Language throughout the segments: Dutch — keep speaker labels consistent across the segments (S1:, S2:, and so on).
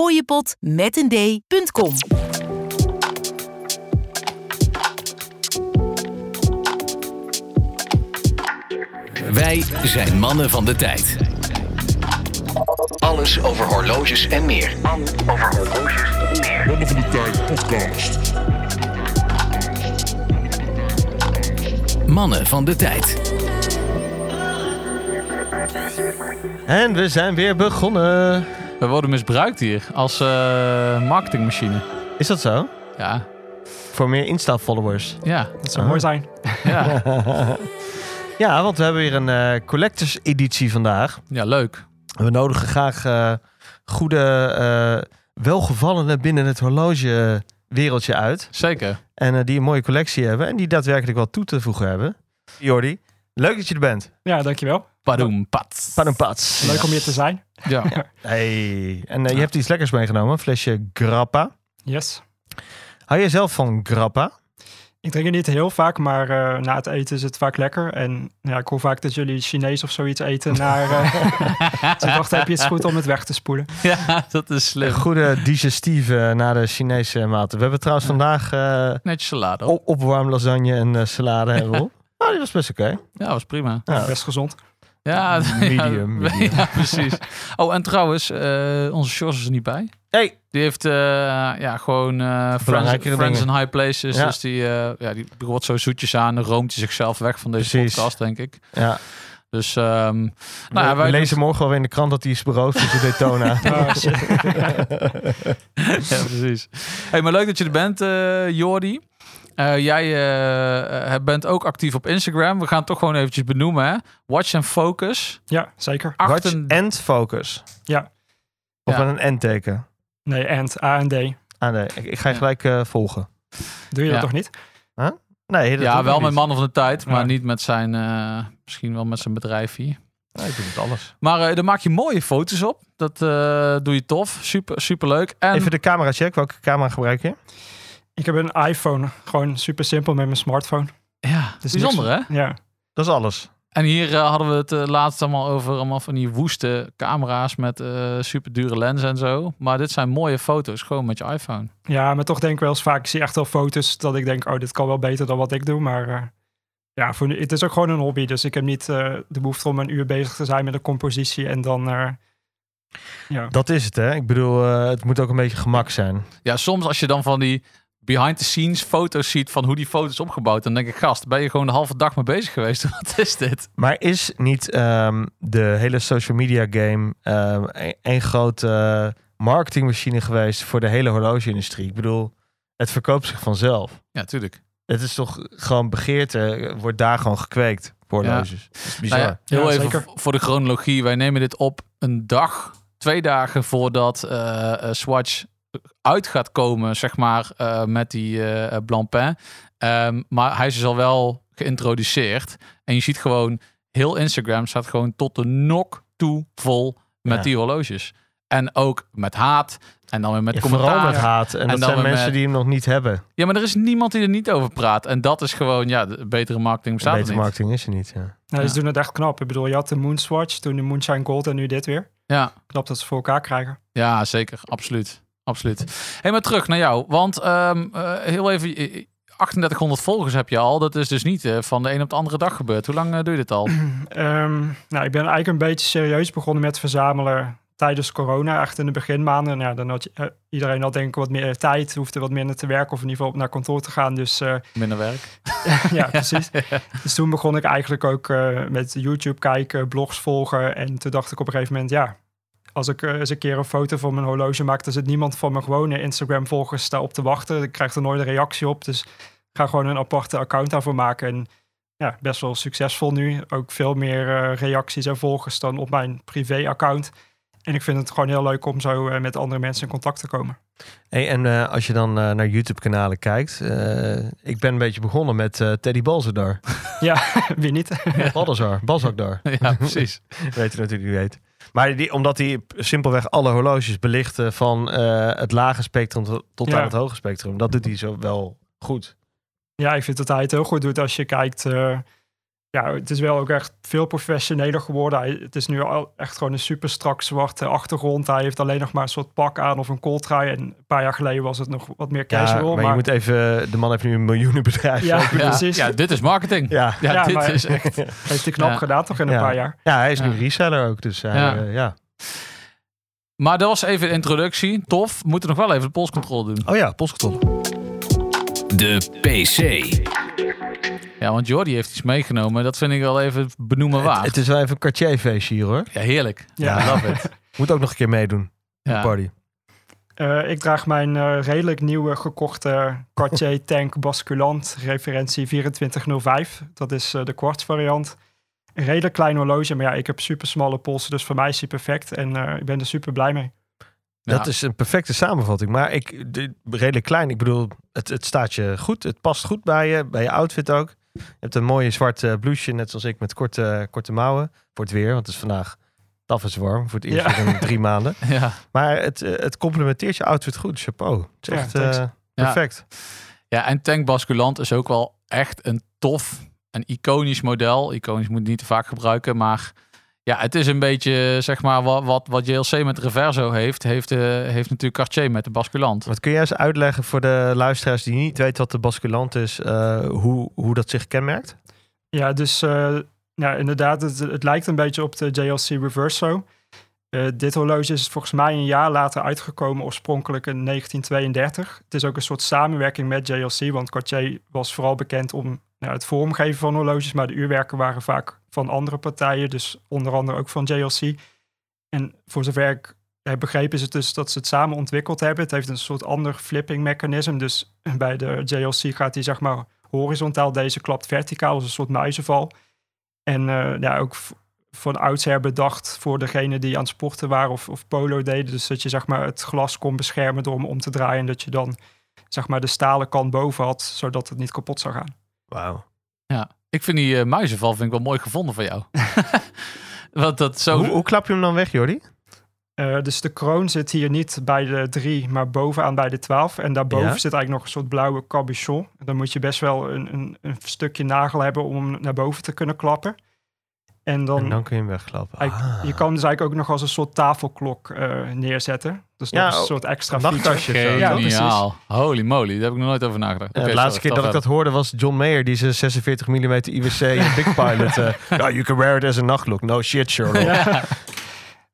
S1: fooiepot met een d.com.
S2: Wij zijn mannen van de tijd. Alles over horloges en meer.
S3: Mannen van de Tijd podcast.
S2: Mannen van de tijd.
S4: En we zijn weer begonnen.
S5: We worden misbruikt hier als eh, marketingmachine.
S4: Is dat zo?
S5: Ja,
S4: Voor meer Insta-followers.
S5: ja,
S6: Dat zou mooi zijn.
S5: ja.
S4: Ja, want we hebben weer een eh, collectors editie vandaag.
S5: ja leuk.
S4: We nodigen graag eh, goede, eh welgevallenen binnen het horlogewereldje uit.
S5: Zeker.
S4: En eh, die een mooie collectie hebben en die daadwerkelijk wat toe te voegen hebben. Jordi, leuk dat je er bent.
S6: Ja, dankjewel.
S5: Padoem, pat.
S4: Pan en pats.
S6: Leuk om hier te zijn.
S5: Ja.
S4: Hey. En eh, je hebt iets lekkers meegenomen, een flesje grappa.
S6: Yes.
S4: Hou jij zelf van grappa?
S6: Ik drink het niet heel vaak, maar eh, na het eten is het vaak lekker. En ja, ik hoor vaak dat jullie Chinees of zoiets eten. Naar, eh, dus ik dacht, heb je het goed om het weg te spoelen?
S5: ja, dat is
S4: Een
S5: slim.
S4: goede digestieve eh, naar de Chinese maat. We hebben trouwens vandaag... eh,
S5: Netjes salade. op.
S4: op, opwarm lasagne en eh, salade hebben we op. Nou, die was best oké.
S5: Ja, was prima.
S4: Ja.
S6: Best gezond.
S5: Ja,
S4: Medium,
S5: Ja,
S4: medium.
S5: ja, precies. Oh, en trouwens, eh, onze Sjors is er niet bij.
S4: Hey,
S5: Die heeft eh, ja, gewoon eh friends,
S4: Belangrijkere
S5: friends in
S4: dingen.
S5: high places.
S4: Ja.
S5: Dus die, eh, ja, die wordt zo zoetjes aan. Dan roomt hij zichzelf weg van deze
S4: Precies.
S5: podcast, denk ik.
S4: ja.
S5: Dus, ehm, nou ja,
S4: we,
S5: wij
S4: lezen morgen alweer in de krant dat hij is beroofd is in Daytona.
S6: Oh, shit.
S5: Ja, precies. Hey, maar leuk dat je er bent, eh, Jordi. Eh, jij eh, eh, bent ook actief op Instagram. We gaan het toch gewoon eventjes benoemen. Hè? Watch and Focus.
S6: Ja, zeker.
S4: Watch
S5: Achten...
S4: and focus.
S6: Ja.
S4: Of
S5: Ja.
S4: met een en-teken.
S6: Nee, and, A en D.
S4: Ah nee, ik, ik ga je
S5: Ja.
S4: gelijk eh, volgen.
S6: Doe je
S5: Ja.
S6: dat toch niet?
S4: Nee, dat
S5: Ja,
S4: doe
S5: wel
S4: ik
S5: met
S4: niet.
S5: man van de tijd, maar
S6: Ja.
S5: niet met zijn, eh, misschien wel met zijn bedrijf hier.
S4: Nee, ik doe het alles.
S5: Maar eh, daar maak je mooie foto's op. Dat eh, doe je tof. Super, super leuk. En
S4: Even de camera check. Welke camera gebruik je?
S6: Ik heb een iPhone. Gewoon super simpel met mijn smartphone.
S5: ja,
S6: Dus
S5: bijzonder hè?
S6: Ja,
S4: Dat is alles.
S5: En hier eh, hadden we het eh, laatst allemaal over allemaal van die woeste camera's met eh super dure lens en zo. Maar dit zijn mooie foto's, gewoon met je iPhone.
S6: ja, maar toch denk ik wel eens vaak, ik zie echt wel foto's dat ik denk, oh, dit kan wel beter dan wat ik doe. Maar eh, ja, voor nu, het is ook gewoon een hobby. Dus ik heb niet eh, de behoefte om een uur bezig te zijn met een compositie en dan... eh, ja.
S4: Dat is het, hè? Ik bedoel, eh, het moet ook een beetje gemak zijn.
S5: Ja, soms als je dan van die behind the scenes foto's ziet van hoe die foto's opgebouwd, dan denk ik, gast, ben je gewoon de halve dag mee bezig geweest? Wat is dit?
S4: Maar is niet ehm, de hele social media game ehm, een één grote eh, marketingmachine geweest voor de hele horlogeindustrie? Ik bedoel, het verkoopt zich vanzelf.
S5: Ja, tuurlijk.
S4: Het is toch gewoon begeerte, wordt daar gewoon gekweekt voor
S5: Ja.
S4: horloges. Dat is bizar.
S5: Nou ja, heel
S6: Ja,
S5: even
S6: zeker.
S5: v- voor de chronologie. Wij nemen dit op een dag, twee dagen voordat eh, eh, Swatch uit gaat komen, zeg maar, eh, met die eh eh, Blancpain. Ehm, maar hij is dus al wel geïntroduceerd. En je ziet gewoon, heel Instagram staat gewoon tot de nok toe vol met
S4: Ja.
S5: die horloges. En ook met haat. En dan weer met
S4: Ja, vooral
S5: commentaar.
S4: met haat. En,
S5: En
S4: dat
S5: dan
S4: zijn
S5: weer
S4: mensen
S5: met- eh,
S4: die hem nog niet hebben.
S5: Ja, maar er is niemand die er niet over praat. En dat is gewoon, ja, de betere marketing bestaat
S4: Beter
S5: er niet.
S4: marketing is er niet. Ja.
S6: Nou,
S5: Ja.
S6: ze doen het echt knap. Ik bedoel, je had de Moonswatch, toen de Moonshine Gold en nu dit weer.
S5: Ja,
S6: Knap dat ze voor elkaar krijgen.
S5: ja, zeker. Absoluut. Absoluut. Hé, maar terug naar jou. Want ehm, eh, heel even, eh, eh, 3800 volgers heb je al. Dat is dus niet eh, van de een op de andere dag gebeurd. Hoe lang eh, doe je dit al?
S6: Ehm, nou, ik ben eigenlijk een beetje serieus begonnen met verzamelen tijdens corona. Echt in de beginmaanden. Nou, dan had je, eh, iedereen had denk ik wat meer tijd, hoefde wat minder te werken of in ieder geval naar kantoor te gaan. Dus eh,
S5: Minder werk.
S6: ja, precies. Dus toen begon ik eigenlijk ook eh, met YouTube kijken, blogs volgen. En toen dacht ik op een gegeven moment, ja, als ik eh, eens een keer een foto van mijn horloge maak, dan zit niemand van mijn gewone Instagram-volgers daarop te wachten. Ik krijg er nooit een reactie op. Dus ik ga gewoon een aparte account daarvoor maken. En ja, best wel succesvol nu. Ook veel meer eh, reacties en volgers dan op mijn privé-account. En ik vind het gewoon heel leuk om zo eh, met andere mensen in contact te komen.
S4: Hey, en eh, als je dan eh, naar YouTube-kanalen kijkt. eh, ik ben een beetje begonnen met eh, Teddy Balzadar.
S6: Wie niet?
S4: Balzadar, Balzadar.
S5: ja, precies.
S4: Weet je natuurlijk niet weet. Maar die, omdat hij simpelweg alle horloges belichten van eh, het lage spectrum tot, tot
S6: Ja.
S4: aan het hoge spectrum. Dat doet hij zo wel goed.
S6: Ja, ik vind dat hij het heel goed doet als je kijkt. eh, ja, het is wel ook echt veel professioneler geworden. Hij, het is nu al echt gewoon een super strak zwarte achtergrond. Hij heeft alleen nog maar een soort pak aan of een kooltrui. En een paar jaar geleden was het nog wat meer
S4: Ja,
S6: casual.
S4: maar, je moet even... De man heeft nu een miljoenenbedrijf.
S6: Ja,
S4: Ja,
S5: Ja,
S6: precies.
S5: ja, dit is marketing.
S4: ja.
S5: Ja,
S6: Ja,
S5: dit
S6: maar-
S5: is echt...
S6: heeft hij knap
S5: Ja.
S6: gedaan toch in een
S4: Ja.
S6: paar jaar.
S4: Ja, hij is nu
S5: Ja.
S4: reseller ook, dus hij,
S5: Ja.
S4: eh, ja.
S5: Maar dat was even de introductie. Tof. We moeten nog wel even de polscontrole doen.
S4: Oh ja, postkantoor.
S2: De PC.
S5: Ja, want Jordi heeft iets meegenomen. Dat vind ik wel even benoemen
S4: Het,
S5: waard.
S4: het is wel even een Cartier feestje hier hoor.
S5: ja, heerlijk.
S6: Ja.
S5: I love it.
S4: Moet ook nog een keer meedoen.
S5: Ja.
S4: Party.
S6: Eh, ik draag mijn eh, redelijk nieuwe gekochte Cartier Tank Basculant referentie 2405. Dat is eh, de kwarts variant. Een redelijk klein horloge, maar ja, ik heb super smalle polsen, dus voor mij is hij perfect. En eh, ik ben er super blij mee.
S5: Ja.
S4: Dat is een perfecte samenvatting. Maar ik, de- redelijk klein. Ik bedoel, het, het staat je goed. Het past goed bij je, bij je outfit ook. Je hebt een mooie zwarte eh, blouseje, net zoals ik, met korte, korte mouwen. Voor het weer, want het is vandaag taf is warm. Voor het eerst
S6: Ja.
S4: weer in drie maanden.
S5: Ja.
S4: Maar het, eh, het complementeert je outfit goed. Chapeau. Het is
S6: Ja,
S4: echt
S6: thanks.
S4: eh, perfect.
S5: ja, en Tank Basculant is ook wel echt een tof en iconisch model. Iconisch moet je niet te vaak gebruiken, maar... Ja, het is een beetje, zeg maar, wat, wat, wat JLC met Reverso heeft, heeft, eh, heeft natuurlijk Cartier met de Basculant.
S4: Wat kun jij eens uitleggen voor de luisteraars die niet weten wat de basculant is, eh, hoe, hoe dat zich kenmerkt?
S6: Ja, dus eh, ja, inderdaad, het, het lijkt een beetje op de JLC Reverso. Eh, dit horloge is volgens mij een jaar later uitgekomen, oorspronkelijk in 1932. Het is ook een soort samenwerking met JLC, want Cartier was vooral bekend om nou, het vormgeven van horloges, maar de uurwerken waren vaak van andere partijen, dus onder andere ook van JLC. En voor zover ik heb begrepen is het dus dat ze het samen ontwikkeld hebben. Het heeft een soort ander flipping mechanisme, dus bij de JLC gaat hij zeg maar horizontaal, deze klapt verticaal als een soort muizenval. En eh, ja, ook v- van oudsher bedacht voor degene die aan het sporten waren of, of polo deden. Dus dat je zeg maar, het glas kon beschermen door hem om te draaien. En dat je dan zeg maar, de stalen kant boven had, zodat het niet kapot zou gaan.
S4: Wauw.
S5: Ik vind die eh, muizenval vind ik wel mooi gevonden van jou. Want dat zo...
S4: Hoe, hoe klap je hem dan weg, Jordi?
S6: Eh, dus de kroon zit hier niet bij de 3, maar bovenaan bij de 12. En daarboven
S4: Ja.
S6: zit eigenlijk nog een soort blauwe cabochon. En Dan moet je best wel een, een, een stukje nagel hebben om hem naar boven te kunnen klappen. En dan,
S4: En dan kun je hem wegklappen.
S6: Hij-
S4: Ah.
S6: Je kan hem dus eigenlijk ook nog als een soort tafelklok eh, neerzetten. Dus
S4: Ja,
S6: nog een
S4: oh,
S6: soort extra
S4: een
S6: feature.
S4: nachttasje. zo,
S6: Ja,
S4: toch?
S6: precies.
S5: Geniaal. Holy moly, daar heb ik nog nooit over nagedacht.
S4: Ja,
S5: Oké,
S4: de laatste keer
S5: sorry, tof
S4: dat ik dat
S5: verder.
S4: hoorde was John Mayer, die zijn 46 mm IWC en Big Pilot. eh, Ja, you can wear it as a nachtlook. No shit, Sherlock.
S6: Ja.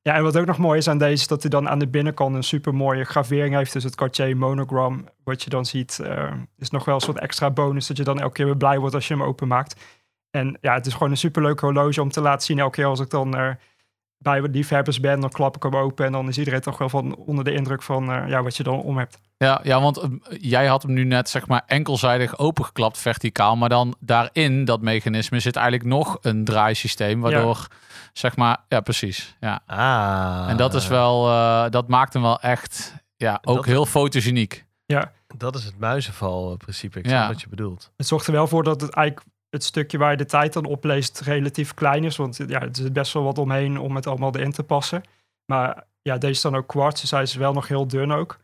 S6: ja, en wat ook nog mooi is aan deze, is dat hij dan aan de binnenkant een super mooie gravering heeft. Dus het Cartier monogram, wat je dan ziet, eh, is nog wel een soort extra bonus. Dat je dan elke keer weer blij wordt als je hem openmaakt. En ja, het is gewoon een superleuk horloge om te laten zien. Elke keer als ik dan eh, bij wat liefhebbers ben, dan klap ik hem open. En dan is iedereen toch wel van onder de indruk van eh, ja, wat je dan om hebt.
S5: Ja, ja, want eh, jij had hem nu net zeg maar enkelzijdig opengeklapt verticaal. Maar dan daarin, dat mechanisme, zit eigenlijk nog een draaisysteem. Waardoor, zeg maar, ja precies. Ja.
S4: Ah.
S5: En dat is wel, eh, dat maakt hem wel echt, ja, ook
S4: Dat-
S5: heel fotogeniek.
S4: Dat is het muizenval-principe. Ik
S5: Ja.
S4: snap wat je bedoelt.
S6: Het zorgt er wel voor dat het eigenlijk het stukje waar je de tijd dan opleest relatief klein is. Want ja, er zit best wel wat omheen om het allemaal erin te passen. Maar ja, deze is dan ook kwarts, dus hij is wel nog heel dun ook.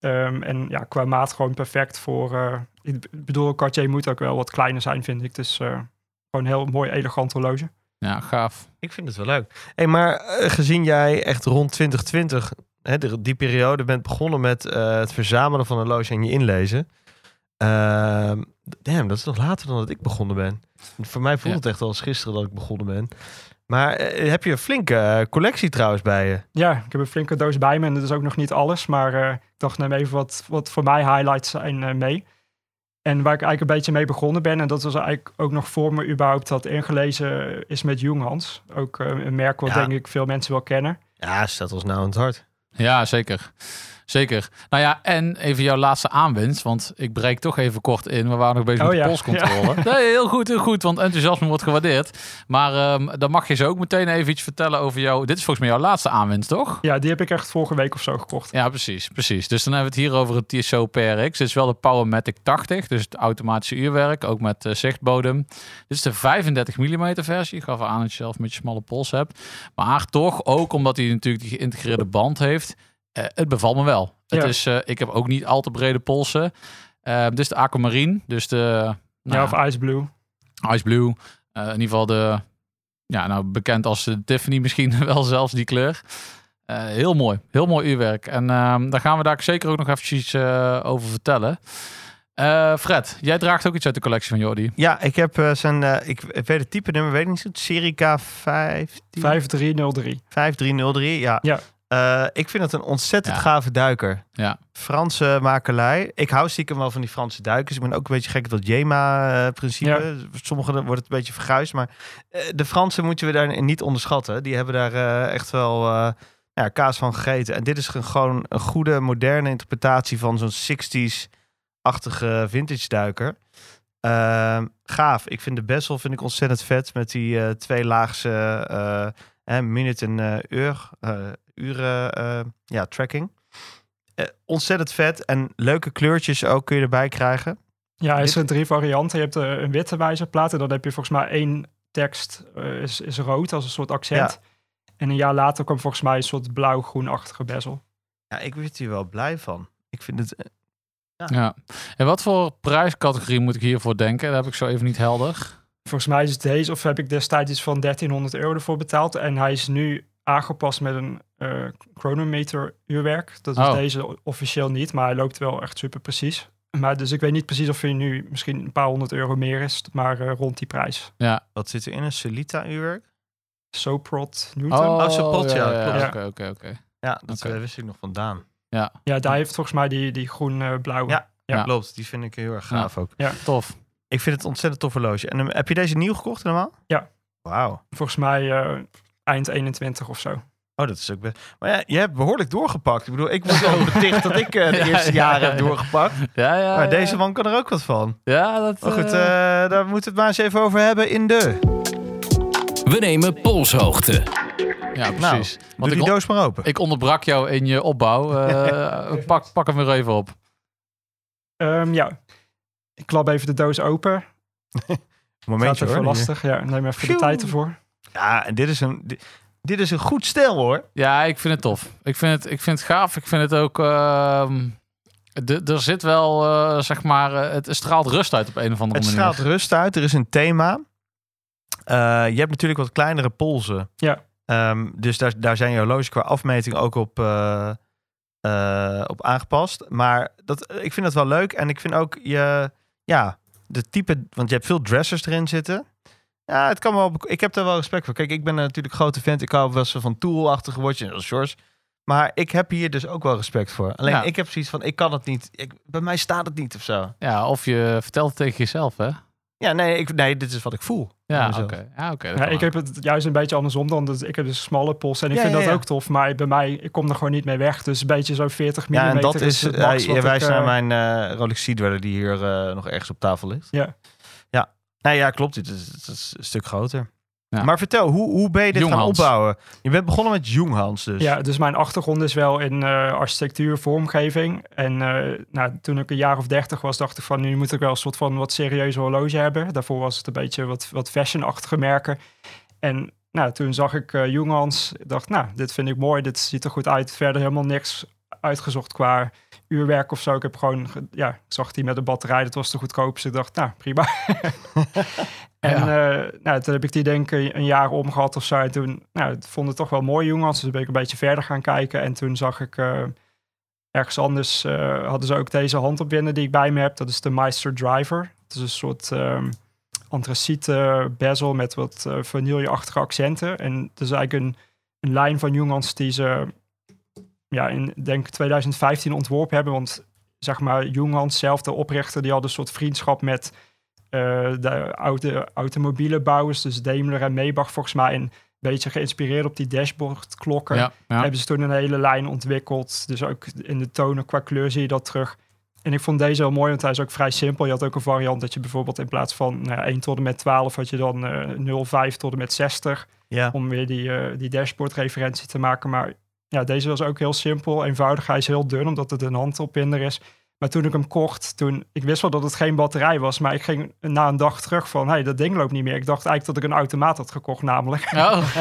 S6: Ehm, en ja, qua maat gewoon perfect voor... eh, ik b- bedoel, Cartier moet ook wel wat kleiner zijn, vind ik. Dus eh, gewoon een heel mooi, elegant horloge.
S5: Ja, gaaf.
S4: Ik vind het wel leuk. Hey, maar eh, gezien jij echt rond 2020, hè, de- die periode, bent begonnen met eh, het verzamelen van horloges en je inlezen. Ehm, damn, dat is nog later dan dat ik begonnen ben. Voor mij voelt
S5: Ja.
S4: het echt als gisteren dat ik begonnen ben. Maar eh, heb je een flinke eh, collectie trouwens bij je?
S6: Ja, ik heb een flinke doos bij me en dat is ook nog niet alles. Maar eh, ik dacht, neem even wat, wat voor mij highlights zijn eh, mee. En waar ik eigenlijk een beetje mee begonnen ben, en dat was eigenlijk ook nog voor me überhaupt had ingelezen, eh, is met Junghans. Ook eh, een merk wat
S4: Ja.
S6: denk ik veel mensen wel kennen.
S4: Ja, staat ons nou aan het hart.
S5: Ja, zeker. Zeker. Nou ja, en even jouw laatste aanwinst, want ik breek toch even kort in. We waren nog bezig
S6: Oh
S5: met de
S6: ja,
S5: polscontrole. Nee, heel goed, heel goed, want enthousiasme wordt gewaardeerd. Maar ehm, dan mag je ze ook meteen even iets vertellen over jou. Dit is volgens mij jouw laatste aanwinst, toch?
S6: Ja, die heb ik echt vorige week of zo gekocht.
S5: Ja, precies, precies. Dus dan hebben we het hier over het TSO PRX. Dit is wel de Powermatic 80, dus het automatische uurwerk, ook met eh, zichtbodem. Dit is de 35 mm versie. Ik gaf aan dat je zelf met je smalle pols hebt. Maar toch, ook omdat hij natuurlijk die geïntegreerde band heeft, eh, het bevalt me wel.
S6: Ja.
S5: Het is, eh, ik heb ook niet al te brede polsen. Eh, dit is de Aquamarine, dus de... nou
S6: Ja, of Ice Blue.
S5: Ice Blue. Eh, in ieder geval de, ja, nou bekend als de Tiffany misschien wel zelfs, die kleur. Eh, heel mooi, heel mooi uurwerk. En ehm, daar gaan we daar zeker ook nog eventjes eh, over vertellen. Eh, Fred, jij draagt ook iets uit de collectie van Jordi.
S4: Ja, ik heb eh, zijn, eh, ik, ik weet het type nummer, weet ik niet zo goed. Serica 15.
S6: 5303.
S4: 5303, ja.
S6: Ja.
S4: Eh, ik vind het een ontzettend
S5: Ja.
S4: gave duiker.
S5: Ja.
S4: Franse makelij. Ik hou stiekem wel van die Franse duikers. Ik ben ook een beetje gek op dat eh, Jema-principe. Sommigen wordt het een beetje verguisd. Maar eh, de Fransen moeten we daar niet onderschatten. Die hebben daar eh, echt wel eh, ja, kaas van gegeten. En dit is gewoon een goede, moderne interpretatie van zo'n 60s-achtige vintage duiker. Ehm, gaaf. Ik vind de Bessel vind ik ontzettend vet. Met die eh tweelaagse eh, hè, minute en eh, uur, eh, uren eh, ja, tracking. Eh, ontzettend vet. En leuke kleurtjes ook kun je erbij krijgen.
S6: Ja, er
S4: Dit-
S6: zijn drie varianten. Je hebt eh, een witte wijzerplaat en dan heb je volgens mij één tekst eh, is, is rood als een soort accent. En een jaar later kwam volgens mij een soort blauw-groenachtige bezel.
S4: Ja, ik word hier wel blij van. Ik vind het... eh,
S5: Ja. En wat voor prijscategorie moet ik hiervoor denken? Dat heb ik zo even niet helder.
S6: Volgens mij is het deze, of heb ik destijds iets van 1300 euro ervoor betaald. En hij is nu aangepast met een eh, chronometer uurwerk. Dat is
S5: Oh.
S6: deze officieel niet, maar hij loopt wel echt super precies. Maar dus ik weet niet precies of hij nu misschien een paar honderd euro meer is, maar eh, rond die prijs.
S4: Wat zit erin? Een Celita-uurwerk?
S6: Soprot Newton.
S4: Oh, zo'n pot, ja,
S5: ja,
S6: klopt.
S5: Oké, oké, oké.
S4: Ja, dat
S5: Oké.
S4: eh, wist ik nog vandaan.
S6: Ja, daar heeft volgens mij die, eh, die groen-blauwe.
S4: Ja. Ja,
S5: Ja.
S4: klopt. Die vind ik heel erg gaaf ook.
S5: Tof.
S4: Ik vind het een ontzettend tof horloge. En eh, heb je deze nieuw gekocht normaal?
S6: Ja.
S4: Wauw.
S6: Volgens mij eh, eind 21 of zo.
S4: Oh, dat is ook best. Maar ja, je hebt behoorlijk doorgepakt. Ik bedoel, ik word al beticht dat ik eh, de
S5: Ja,
S4: eerste
S5: ja,
S4: jaren
S5: ja,
S4: heb
S5: ja.
S4: doorgepakt.
S5: Ja, ja.
S4: Maar
S5: ja.
S4: deze man kan er ook wat van.
S5: Ja, dat...
S4: Maar goed,
S5: eh,
S4: eh, daar moeten we het maar eens even over hebben in de.
S2: We nemen polshoogte.
S5: ja, precies.
S4: Nou,
S5: Want
S4: Doe
S5: ik
S4: die
S5: on-
S4: doos maar open.
S5: Ik onderbrak jou in je opbouw. Eh, pak, pak hem weer even op.
S6: Ehm, ja, ik klap even de doos open. Gaat
S4: Momentje
S6: even
S4: hoor. eh.
S6: lastig. Ja, neem even
S4: Pjoe.
S6: de tijd ervoor.
S4: Ja, en dit is een, di- dit is een goed stel hoor.
S5: Ja, ik vind het tof. Ik vind het, ik vind het gaaf. Ik vind het ook... ehm, d- er zit wel, eh, zeg maar... eh, het straalt rust uit op een of andere
S4: Het
S5: manier.
S4: straalt rust uit. Er is een thema. Eh, je hebt natuurlijk wat kleinere polsen.
S6: Ja.
S4: Ehm, dus daar, daar zijn je horloges qua afmeting ook op, eh, eh, op aangepast. Maar dat, ik vind dat wel leuk. En ik vind ook je, ja, de type, want je hebt veel dressers erin zitten. Ja, het kan wel. bek- Ik heb daar wel respect voor. Kijk, ik ben natuurlijk grote fan. Ik hou wel eens van Tool-achtige watjes, zoals George. Maar ik heb hier dus ook wel respect voor. Alleen
S5: Ja.
S4: ik heb zoiets van, ik kan het niet. Ik, bij mij staat het niet of zo.
S5: Ja, of je vertelt het tegen jezelf, hè?
S4: Ja, nee, ik, nee, dit is wat ik voel.
S5: Ja,
S4: mezelf.
S5: oké. Ja, oké. dat
S6: Ja,
S5: kan
S6: ik
S5: wel.
S6: heb het juist een beetje andersom dan. Dus ik heb dus smalle polsen en ik
S4: Ja,
S6: vind
S4: ja,
S6: dat
S4: ja.
S6: ook tof. Maar bij mij, ik kom er gewoon niet mee weg. Dus een beetje zo'n 40 mm
S4: Ja, en dat is,
S6: het
S4: eh,
S6: max wat
S4: je
S6: ik,
S4: wijst
S6: eh,
S4: naar mijn eh Rolex Seedweller die hier eh, nog ergens op tafel ligt.
S6: Ja.
S4: Ja, nou ja, klopt. Dit is, dit is een stuk groter.
S5: Ja.
S4: Maar vertel, hoe, hoe ben je dit gaan
S5: Jonghans.
S4: opbouwen? Je bent begonnen met Junghans dus.
S6: Ja, dus mijn achtergrond is wel in eh, architectuur, vormgeving. En eh, nou, toen ik een jaar of dertig was, dacht ik van nu moet ik wel een soort van wat serieuze horloge hebben. Daarvoor was het een beetje wat, wat fashionachtige merken. En nou, toen zag ik eh Junghans, Ik dacht nou, dit vind ik mooi, dit ziet er goed uit. Verder helemaal niks uitgezocht qua uurwerk of zo. Ik heb gewoon, ge- ja, ik zag die met een batterij, dat was de goedkoopste. Ik dacht, nou, prima. en eh, nou, toen heb ik die denk ik een jaar omgehad of zo. En toen nou, ik vond het toch wel mooi, jongens. Dus ben ik een beetje verder gaan kijken. En toen zag ik eh, ergens anders, eh, hadden ze ook deze handopwinder die ik bij me heb. Dat is de Meister Driver. Het is een soort... ehm antraciete bezel met wat eh vanilleachtige accenten. En het is eigenlijk een, een lijn van jongens die ze ja, in denk 2015 ontworpen hebben. Want zeg maar, Junghans zelf, de oprichter, die had een soort vriendschap met eh, de oude automobielenbouwers, dus Daimler en Maybach volgens mij. En een beetje geïnspireerd op die dashboardklokken.
S5: Ja, ja.
S6: Hebben ze toen een hele lijn ontwikkeld. Dus ook in de tonen qua kleur zie je dat terug. En ik vond deze heel mooi, want hij is ook vrij simpel. Je had ook een variant dat je bijvoorbeeld in plaats van nou ja, 1 tot en met 12 had je dan eh 05 tot en met 60.
S4: Ja.
S6: Om weer die, eh, die dashboard-referentie te maken. Maar ja, deze was ook heel simpel. Eenvoudig. Hij is heel dun, omdat het een handopwinder is. Maar toen ik hem kocht, toen, ik wist wel dat het geen batterij was. Maar ik ging na een dag terug van, hé, hey, dat ding loopt niet meer. Ik dacht eigenlijk dat ik een automaat had gekocht namelijk.
S5: Oh.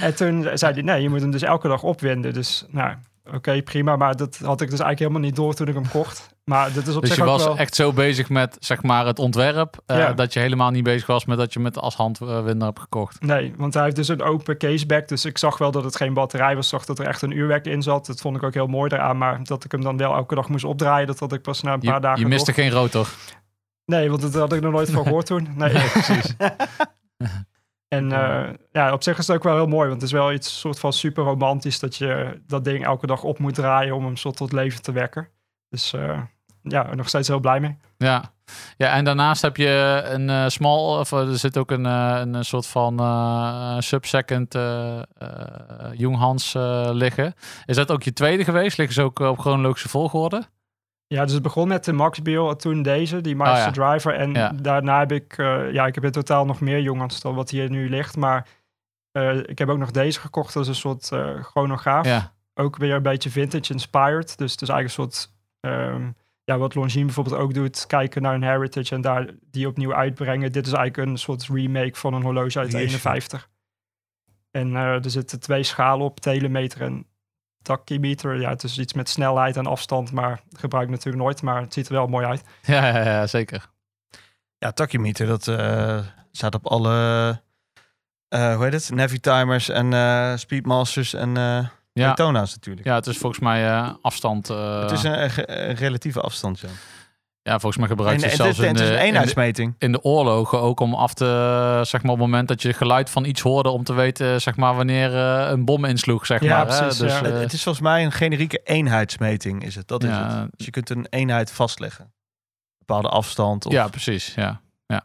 S6: En toen zei hij, nee, je moet hem dus elke dag opwinden. Dus nou, oké, prima. Maar dat had ik dus eigenlijk helemaal niet door toen ik hem kocht. Maar dit is op
S5: Dus
S6: zich
S5: je
S6: ook
S5: was
S6: wel...
S5: echt zo bezig met zeg maar, het ontwerp, eh,
S6: Ja.
S5: dat je helemaal niet bezig was met dat je met als handwinder hebt gekocht.
S6: Nee, want hij heeft dus een open caseback. Dus ik zag wel dat het geen batterij was. Zag dat er echt een uurwerk in zat. Dat vond ik ook heel mooi daaraan. Maar dat ik hem dan wel elke dag moest opdraaien, dat had ik pas na een paar
S5: Je,
S6: dagen
S5: je miste
S6: door.
S5: geen rotor.
S6: Nee, want dat had ik nog nooit van gehoord toen. Nee, precies. En eh, ja, op zich is het ook wel heel mooi, want het is wel iets soort van super romantisch dat je dat ding elke dag op moet draaien om hem soort tot leven te wekken. Dus eh, ja, nog steeds heel blij mee.
S5: Ja. ja, en daarnaast heb je een eh, small, of eh, er zit ook een, eh, een, eh, soort van eh sub-second eh, eh, Junghans eh, liggen. Is dat ook je tweede geweest? Liggen ze ook op chronologische volgorde?
S6: Ja, dus het begon met de Max Biel, toen deze, die Master
S5: Oh ja.
S6: Driver. En
S5: Ja.
S6: daarna heb ik, eh, ja, ik heb in totaal nog meer jongens dan wat hier nu ligt. Maar eh, ik heb ook nog deze gekocht als een soort eh, chronograaf.
S5: Ja.
S6: Ook weer een beetje vintage inspired. Dus het is eigenlijk een soort, ehm, ja, wat Longines bijvoorbeeld ook doet. Kijken naar een heritage en daar die opnieuw uitbrengen. Dit is eigenlijk een soort remake van een horloge uit
S4: Jeetje.
S6: 51. En eh, er zitten twee schalen op, telemeter en tachymeter. Ja, het is iets met snelheid en afstand, maar gebruik ik natuurlijk nooit. Maar het ziet er wel mooi uit.
S5: Ja, ja, ja, zeker.
S4: Ja, tachymeter, dat eh, staat op alle, eh, hoe heet het, Navi timers en eh, speedmasters en eh
S5: Ja.
S4: Daytona's natuurlijk.
S5: ja, het is volgens mij eh, afstand. eh,
S4: Het is een, eh, ge- een relatieve afstand, ja.
S5: ja, volgens mij
S4: En,
S5: gebruikt
S4: en
S5: ze
S4: het,
S5: zelfs
S4: is,
S5: in
S4: het is
S5: de-
S4: een
S5: in de-
S4: eenheidsmeting.
S5: in de oorlogen ook om af te, zeg maar, op het moment dat je geluid van iets hoorde, om te weten, zeg maar, wanneer eh, een bom insloeg, zeg
S6: Ja,
S5: maar. hè.
S6: precies,
S5: dus,
S6: ja.
S5: eh,
S4: het, het is volgens mij een generieke eenheidsmeting, is het. Dat is
S5: Ja.
S4: het. Dus je kunt een eenheid vastleggen. Een bepaalde afstand. Of,
S5: ja, precies, ja. ja.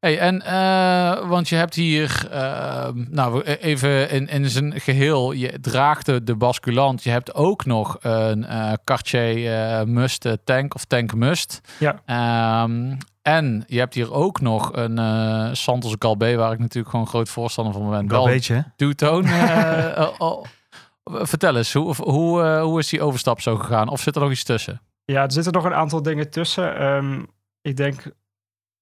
S5: Hey, en, eh, want je hebt hier, eh, nou, we- even in, in zijn geheel, je draagt de, de basculant. Je hebt ook nog een eh, Cartier eh, Must eh, tank of tank Must.
S6: Ja.
S5: Ehm, en je hebt hier ook nog een eh, Santos Galbé, waar ik natuurlijk gewoon groot voorstander van
S4: Wel
S5: ben. Wel
S4: weet je, hè?
S5: Duwtoon. eh, eh, oh. Vertel eens, hoe, hoe, eh, hoe is die overstap zo gegaan? Of zit er nog iets tussen?
S6: Ja, er zitten nog een aantal dingen tussen. Ehm, ik denk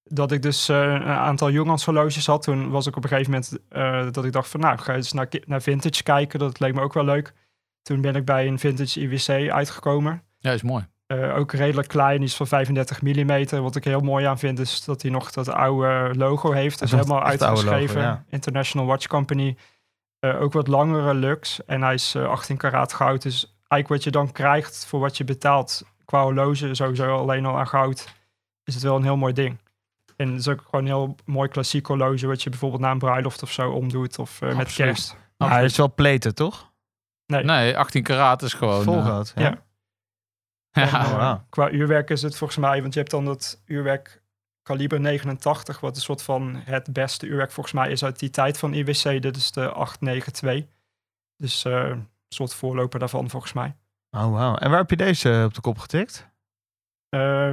S6: dat ik dus eh, een aantal Jongans horloges had. Toen was ik op een gegeven moment eh, dat ik dacht van nou, ik ga eens naar, ki- naar vintage kijken. Dat leek me ook wel leuk. Toen ben ik bij een vintage IWC uitgekomen.
S5: Ja, is mooi.
S6: Eh, ook redelijk klein, iets van 35 mm. Wat ik heel mooi aan vind is dat hij nog dat oude logo heeft. Dus
S4: is nog
S6: helemaal
S4: echt oude logo,
S6: uitgeschreven.
S4: ja.
S6: International Watch Company. Eh, ook wat langere lux. En hij is eh, 18 karaat goud. Dus eigenlijk wat je dan krijgt voor wat je betaalt qua horloge, sowieso alleen al aan goud, is het wel een heel mooi ding. En het is ook gewoon een heel mooi klassiek horloge, wat je bijvoorbeeld na een bruiloft of zo omdoet. Of eh, met
S5: Absoluut.
S6: kerst.
S4: Maar hij is wel pleten, toch?
S5: Nee, 18 karaat is gewoon...
S4: Volgoud.
S6: ja.
S5: eh,
S6: En,
S5: ja.
S6: eh,
S4: wauw.
S6: Qua uurwerk is het volgens mij, want je hebt dan dat uurwerk kaliber 89, wat een soort van het beste uurwerk volgens mij is uit die tijd van IWC. Dit is de 892. Dus eh, een soort voorloper daarvan volgens mij.
S4: Oh, wauw. En waar heb je deze op de kop getikt?
S6: Eh,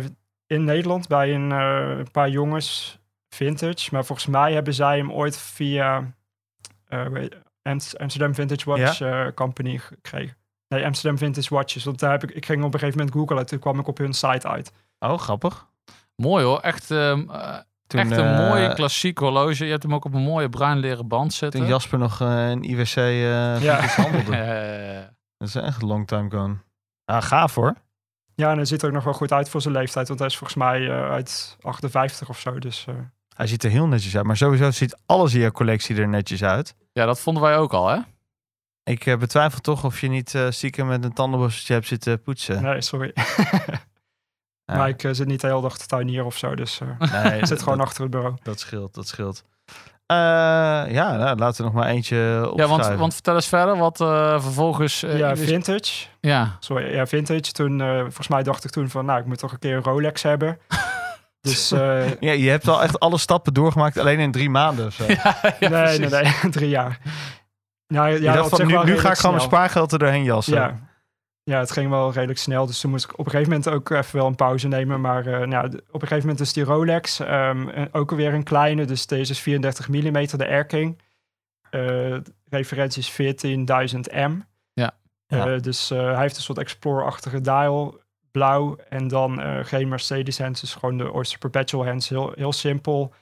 S6: in Nederland bij een eh, paar jongens vintage, maar volgens mij hebben zij hem ooit via eh, hoe heet- Amst- Amsterdam Vintage Watch eh, Company gekregen. Nee, Amsterdam Vintage Watches. Want daar heb ik, ik ging op een gegeven moment googlen. Toen kwam ik op hun site uit.
S4: Oh, grappig.
S5: Mooi hoor, echt, ehm, eh,
S4: Toen,
S5: echt een
S4: eh,
S5: mooie klassiek horloge. Je hebt hem ook op een mooie bruin leren band zitten.
S4: Toen Jasper nog eh, een IWC eh
S6: Ja.
S4: handelde.
S5: Eh,
S4: Dat is echt long time gone. Ah, gaaf hoor.
S6: Ja, en hij ziet er ook nog wel goed uit voor zijn leeftijd. Want hij is volgens mij eh, uit 58 of zo. Dus eh,
S4: Hij ziet er heel netjes uit. Maar sowieso ziet alles in je collectie er netjes uit.
S5: ja, dat vonden wij ook al, hè?
S4: Ik eh, betwijfel toch of je niet eh, stiekem met een tandenborsteltje hebt zitten poetsen.
S6: nee, sorry.
S4: Ja.
S6: Maar ik eh, zit niet de hele dag te tuinieren of zo. Dus eh,
S4: Nee,
S6: ik zit gewoon
S4: dat,
S6: achter het bureau.
S4: dat scheelt, dat scheelt. Eh, ja, nou, laten we nog maar eentje op.
S5: Ja, want, want vertel eens verder, wat eh, vervolgens... eh,
S6: ja,
S5: is-
S6: vintage.
S5: ja.
S6: Sorry, ja, vintage. Toen, eh, volgens mij dacht ik toen van, nou, ik moet toch een keer een Rolex hebben. dus eh,
S4: Ja, je hebt al echt alle stappen doorgemaakt, alleen in drie maanden of zo.
S5: Ja,
S6: nee, nee,
S5: precies.
S6: nee, drie jaar. Nou, ja,
S4: je dacht
S6: op
S4: van,
S6: zich
S4: nu,
S6: wel
S4: nu ga ik
S6: redelijk
S4: gewoon mijn
S6: snel.
S4: spaargeld er doorheen jassen.
S6: Ja. ja, het ging wel redelijk snel. Dus toen moest ik op een gegeven moment ook even wel een pauze nemen. Maar eh, nou, d- op een gegeven moment is die Rolex ehm, eh, ook weer een kleine. Dus deze is 34 mm, de Air King. Eh, referentie is 14.000 M.
S5: Ja.
S4: Ja.
S6: Eh, dus eh, hij heeft een soort Explorer-achtige dial. Blauw en dan eh, geen Mercedes hands, dus gewoon de Oyster Perpetual hands. Heel, heel simpel.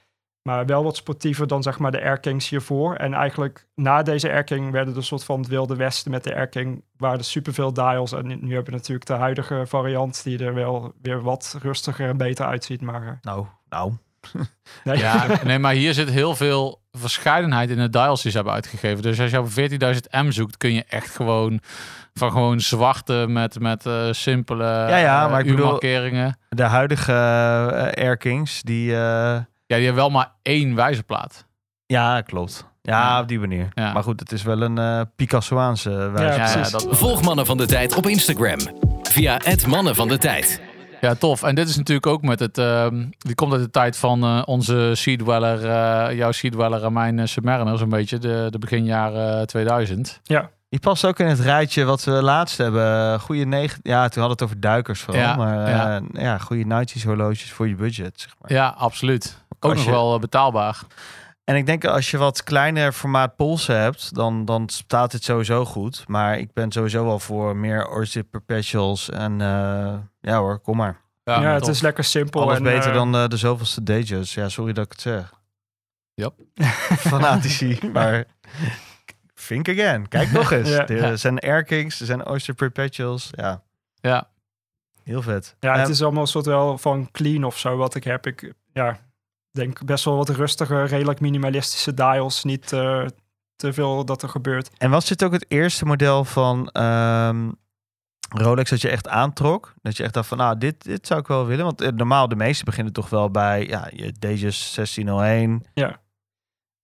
S6: Maar wel wat sportiever dan zeg maar de Air Kings hiervoor. En eigenlijk na deze Air King werden de soort van het Wilde Westen met de Air King. Waren er superveel dials. En nu hebben we natuurlijk de huidige variant die er wel weer wat rustiger en beter uitziet. Maar eh,
S4: Nou, nou.
S6: nee.
S5: Ja, nee, maar hier zit heel veel verscheidenheid in de dials die ze hebben uitgegeven. Dus als je op 14.000 M zoekt, kun je echt gewoon van gewoon zwarte met, met eh, simpele eh, ja,
S4: ja, maar ik bedoel-
S5: uurmarkeringen.
S4: De huidige eh, Air Kings, die... eh,
S5: Ja, die hebben wel maar één wijzerplaat.
S4: ja, klopt. Ja,
S5: Ja.
S4: op die manier.
S5: Ja.
S4: Maar goed, het is wel een eh Picassoaanse wijze.
S6: Ja,
S5: Ja, ja,
S6: precies.
S5: dat,
S2: Volg Mannen van de Tijd op Instagram. Via het Mannen van de Tijd.
S5: ja, tof. En dit is natuurlijk ook met het... ehm, die komt uit de tijd van eh, onze Sea Dweller, eh, jouw Sea Dweller en mijn eh, Submariner zo'n beetje. De, de beginjaren eh, 2000.
S4: Die past ook in het rijtje wat we laatst hebben. Goede negen... Ja, toen hadden we het over duikers vooral.
S5: Ja,
S4: maar eh,
S5: ja.
S4: ja. goede Nighties horloges voor je budget, zeg maar.
S5: Ja, absoluut. Ook
S4: Als
S5: nog
S4: je-
S5: wel eh, betaalbaar.
S4: En ik denk als je wat kleiner formaat polsen hebt, dan, dan staat het sowieso goed. Maar ik ben sowieso wel voor meer Orzip Perpetuals. En eh, ja hoor, kom maar.
S6: Ja,
S5: maar
S6: het
S5: tof.
S6: is lekker simpel.
S4: Alles
S6: en,
S4: beter
S6: eh,
S4: dan eh, de zoveelste Dejus. Ja, sorry dat ik het zeg.
S5: Yep.
S4: Fanatici, maar think again. Kijk nog eens.
S6: Ja.
S4: Er zijn Air Kings, er zijn Oyster Perpetuals. Ja,
S5: Ja.
S4: heel vet.
S6: Ja, het
S4: Eh,
S6: is allemaal een soort wel van clean of zo wat ik heb. Ik ja, denk best wel wat rustige, redelijk minimalistische dials. Niet eh, te veel dat er gebeurt.
S4: En was dit ook het eerste model van ehm, Rolex dat je echt aantrok? Dat je echt dacht van, nou, dit, dit zou ik wel willen. Want eh, normaal, de meeste beginnen toch wel bij ja, je Dejus 1601,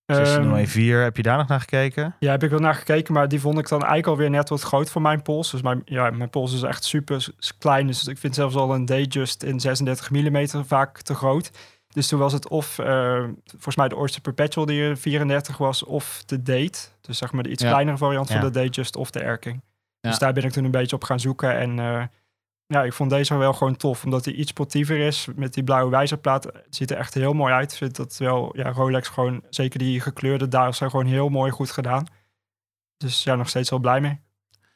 S4: nou
S6: Ehm,
S4: 1604. Heb je daar nog naar gekeken?
S6: ja, heb ik wel naar gekeken, maar die vond ik dan eigenlijk alweer net wat groot voor mijn pols. Dus mijn, ja, mijn pols is echt super s- klein. Dus ik vind zelfs al een Dayjust in 36 mm vaak te groot. Dus toen was het of eh, volgens mij de Oyster Perpetual die er 34 was, of de Date. Dus zeg maar de iets
S5: Ja.
S6: kleinere variant
S4: Ja.
S6: van de Dayjust of de Erking.
S5: Ja.
S6: Dus daar ben ik toen een beetje op gaan zoeken. En eh, ja, ik vond deze wel gewoon tof, omdat hij iets sportiever is. Met die blauwe wijzerplaat eh, Het ziet er echt heel mooi uit. Ik vind dat wel, ja, Rolex gewoon, zeker die gekleurde dials zijn gewoon heel mooi goed gedaan. Dus ja, nog steeds wel blij mee.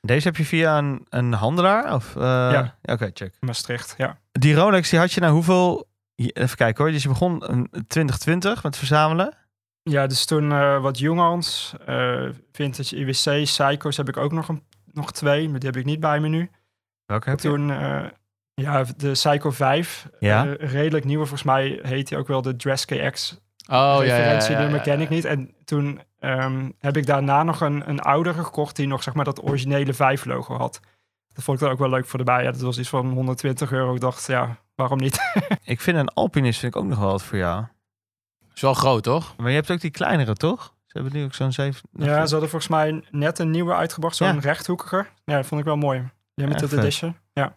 S4: Deze heb je via een, een handelaar? Of, eh,
S6: Ja.
S4: Oké, check.
S6: Maastricht, ja.
S4: Die Rolex, die had je nou hoeveel... je- Even kijken hoor. Dus je begon in 2020 met verzamelen.
S6: Ja, dus toen eh, wat Junghans, eh Vintage IWC, Psychos heb ik ook nog, een, nog twee, maar die heb ik niet bij me nu.
S4: Welke heb
S6: Toen, eh, ja, de Psycho 5,
S4: Ja.
S6: eh, redelijk nieuwe, volgens mij heet die ook wel de Dress KX
S5: Oh, ja, ja, ja, ja,
S6: referentienummer
S5: ja,
S6: ken ik niet. En toen ehm, heb ik daarna nog een, een oudere gekocht die nog zeg maar dat originele 5 logo had. Dat vond ik dan ook wel leuk voor de bij. Ja, dat was iets van 120 euro. Ik dacht, ja, waarom niet?
S4: Ik vind een Alpinist vind ik ook nog wel wat voor jou.
S5: Is wel groot, hoor.
S4: Maar je hebt ook die kleinere, toch? Ze hebben nu ook zo'n zeven...
S6: Ja, ze hadden volgens mij net een nieuwe uitgebracht, zo'n
S4: Ja.
S6: rechthoekiger. Ja, dat vond ik wel mooi.
S4: Ja,
S6: Limited
S4: vet.
S6: edition. Ja,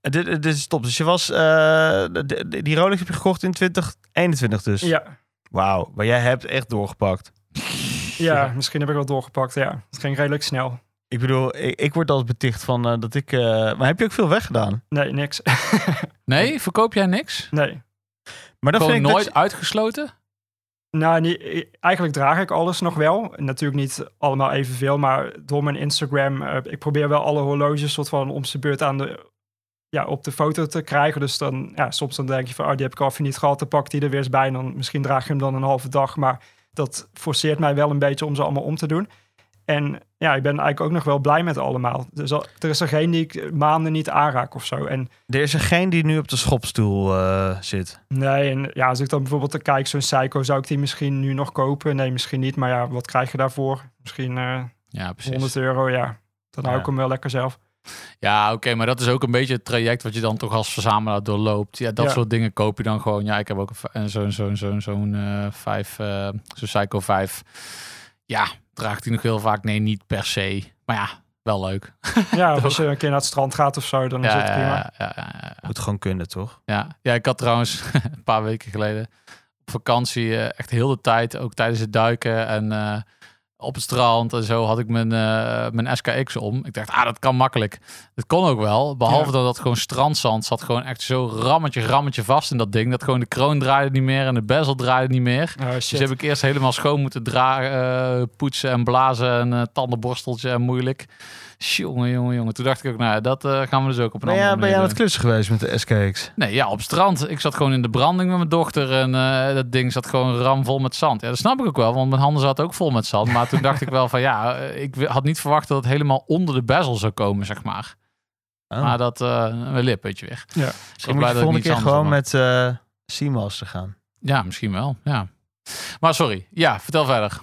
S4: Eh, Dit, dit is top. Dus je was... eh, de- de- die Rolex heb je gekocht in 2021 dus.
S6: ja,
S4: Wauw. Maar jij hebt echt doorgepakt.
S6: ja, misschien heb ik wel doorgepakt. Ja, het ging redelijk snel.
S4: Ik bedoel, ik, ik word altijd beticht van eh, dat ik... eh, maar heb je ook veel weggedaan?
S6: Nee, niks.
S5: Nee, verkoop jij niks?
S6: nee.
S4: Maar dat
S5: Gewoon
S4: vind ik...
S5: nooit
S4: dat-
S5: uitgesloten?
S6: Nou, niet, eigenlijk draag ik alles nog wel. Natuurlijk niet allemaal evenveel, maar door mijn Instagram. eh, ik probeer wel alle horloges soort van om zijn beurt aan de, ja, op de foto te krijgen. Dus dan, ja, soms dan denk je van, oh, die heb ik al even niet gehad. Dan pak ik die er weer eens bij. En dan, misschien draag je hem dan een halve dag. Maar dat forceert mij wel een beetje om ze allemaal om te doen. En ja, ik ben eigenlijk ook nog wel blij met allemaal. Dus al- er is er geen die ik eh, maanden niet aanraak of zo. En
S4: Er is er geen die nu op de schopstoel eh, zit.
S6: Nee, en ja, als ik dan bijvoorbeeld dan kijk, zo'n Psycho, zou ik die misschien nu nog kopen? Nee, misschien niet. Maar ja, wat krijg je daarvoor? Misschien eh,
S5: Ja,
S6: 100
S5: precies.
S6: euro, ja. Dan hou
S4: Ja.
S6: ik hem wel lekker zelf.
S5: Ja, oké, maar dat is ook een beetje het traject wat je dan toch als verzamelaar doorloopt. Ja, dat
S6: Ja.
S5: soort dingen koop je dan gewoon. Ja, ik heb ook een v- en zo'n zo'n zo'n zo'n eh, vijf, eh, zo'n Psycho 5. Ja, draagt hij nog heel vaak? Nee, niet per se. Maar ja, wel leuk.
S6: Ja, of als je een keer naar het strand gaat of zo, dan is
S5: Ja,
S6: het
S5: ja,
S6: prima.
S5: ja, ja, ja, ja.
S4: Moet gewoon kunnen, toch?
S5: Ja, ja ik had trouwens een paar weken geleden op vakantie eh, echt heel de tijd, ook tijdens het duiken en eh, op het strand en zo, had ik mijn, eh, mijn SKX om. Ik dacht, ah, dat kan makkelijk. Dat kon ook wel, behalve
S6: Ja.
S5: dat dat gewoon strandzand zat gewoon echt zo rammetje, rammetje vast in dat ding. Dat gewoon de kroon draaide niet meer en de bezel draaide niet meer.
S6: Oh,
S5: Dus
S6: shit.
S5: die heb ik eerst helemaal schoon moeten dragen, eh, poetsen en blazen en eh, tandenborsteltje en moeilijk. Jongen, jongen, jongen. Toen dacht ik ook, nou, ja, dat eh, gaan we dus ook op een
S4: Ben
S6: Nou
S4: jij,
S5: andere
S4: ben
S5: manier
S4: jij aan het
S5: doen.
S4: klussen geweest met de SKX?
S5: Nee, ja, op het strand. Ik zat gewoon in de branding met mijn dochter en eh, dat ding zat gewoon ramvol met zand. Ja, dat snap ik ook wel, want mijn handen zaten ook vol met zand. Maar toen dacht ik wel van, ja, eh, ik w- had niet verwacht dat het helemaal onder de bezel zou komen, zeg maar.
S4: Ah.
S5: Maar dat, eh een lippuntje weg.
S6: Ja.
S5: Dus
S4: Ik moet je
S5: ik
S4: volgende
S5: niets
S4: keer
S5: anders
S4: gewoon
S5: had.
S4: met eh Seamaster te gaan.
S5: Ja, misschien wel, ja. Maar sorry, ja, vertel verder.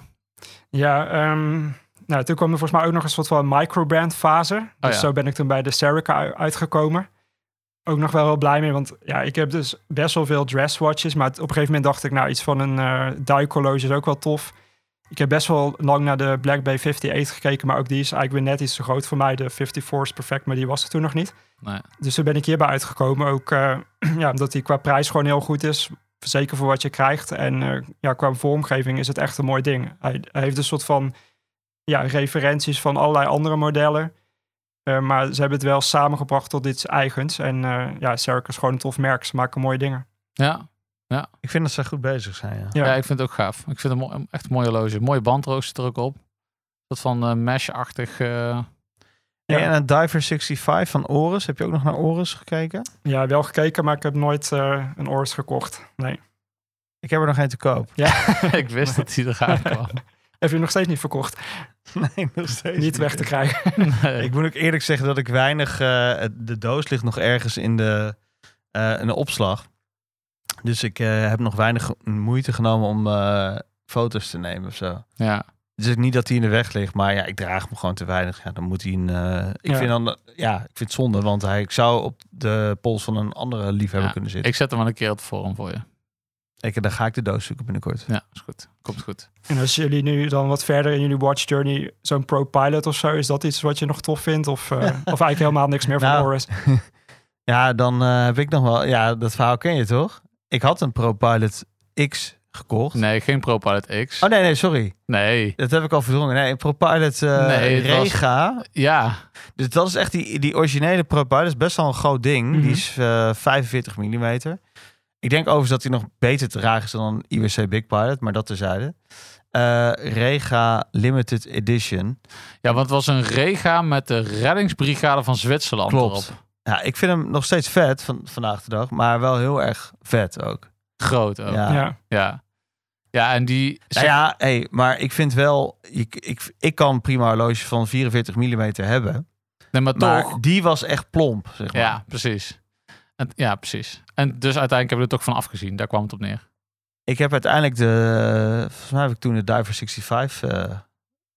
S6: Ja, ehm, nou, toen kwam er volgens mij ook nog een soort van microbrand fase.
S5: Oh
S6: dus
S5: ja.
S6: zo ben ik toen bij de Serica u- uitgekomen. Ook nog wel heel blij mee, want ja, ik heb dus best wel veel dresswatches. Maar het- op een gegeven moment dacht ik, nou, iets van een eh duikhorloge is ook wel tof. Ik heb best wel lang naar de Black Bay 58 gekeken, maar ook die is eigenlijk weer net iets te groot voor mij. De 54 is perfect, maar die was er toen nog niet.
S5: Nee.
S6: Dus toen ben ik hierbij uitgekomen. Ook eh, ja, omdat die qua prijs gewoon heel goed is. Zeker voor wat je krijgt. En eh, ja, qua vormgeving is het echt een mooi ding. Hij, hij heeft een soort van ja, referenties van allerlei andere modellen. Eh, maar ze hebben het wel samengebracht tot iets eigens. En eh ja, Cercus is gewoon een tof merk. Ze maken mooie dingen.
S5: Ja.
S4: Ik vind dat ze goed bezig zijn, ja.
S5: Ja.
S6: Ja.
S5: ik vind het ook gaaf. Ik vind het mo- echt een mooie horloge. Mooie bandrooster er ook op. Dat van eh, mesh-achtig. eh,
S6: Ja.
S4: En een Diver 65 van Oris. Heb je ook nog naar Oris gekeken?
S6: Ja, wel gekeken, maar ik heb nooit eh, een Oris gekocht. Nee.
S4: Ik heb er nog één te koop.
S5: ik wist dat die eraan kwam.
S6: Heb je hem nog steeds niet verkocht?
S4: Nee, nog steeds
S6: Niet weg te krijgen.
S5: Nee.
S4: Ik moet ook eerlijk zeggen dat ik weinig... eh, het- de doos ligt nog ergens in de, eh, in de opslag. Dus ik eh, heb nog weinig moeite genomen om eh, foto's te nemen of zo.
S5: Ja.
S4: Dus niet dat hij in de weg ligt, maar ja, ik draag hem gewoon te weinig. Ja, dan moet hij een. eh, ik
S6: Ja.
S4: vind dan, ja, ik vind het zonde, want hij ik zou op de pols van een andere liefhebber
S5: Ja,
S4: kunnen zitten.
S5: Ik zet hem wel een keer op het forum voor je.
S4: Ik, dan ga ik de doos zoeken binnenkort.
S5: Ja, is goed. Komt goed.
S6: En als jullie nu dan wat verder in jullie watch journey, zo'n Pro Pilot of zo, is dat iets wat je nog tof vindt? Of, eh, of eigenlijk helemaal niks meer van
S4: Nou,
S6: Oris?
S4: Ja, dan eh, heb ik nog wel. Ja, dat verhaal ken je toch? Ik had een ProPilot X gekocht.
S5: Nee, geen ProPilot X.
S4: Oh nee, nee, sorry.
S5: Nee.
S4: Dat heb ik al verdrongen. Nee, een ProPilot eh
S5: Nee, het was-
S4: Rega.
S5: Ja.
S4: Dus dat is echt die, die originele ProPilot. is best wel een groot ding. Die
S6: Mhm.
S4: is eh, 45 mm. Ik denk overigens dat hij nog beter te dragen is dan een IWC Big Pilot, maar dat terzijde. Eh Rega Limited Edition.
S5: ja, want het was een rega met de reddingsbrigade van Zwitserland
S4: Klopt.
S5: erop.
S4: Ja, ik vind hem nog steeds vet van, vandaag de dag, maar wel heel erg vet ook. Nou
S5: Groot ook. Ja.
S4: Ja.
S6: Ja.
S5: Ja, en die...
S4: Nou ja, hey, maar ik vind wel, ik, ik, ik kan prima een horloge van 44 mm hebben,
S5: nee, maar
S4: maar
S5: toch...
S4: die was echt plomp, zeg maar.
S5: Ja, precies. En, ja, precies. En dus uiteindelijk hebben we er toch van afgezien. Daar kwam het op neer.
S4: Ik heb uiteindelijk de, volgens mij heb ik toen de Diver 65 eh,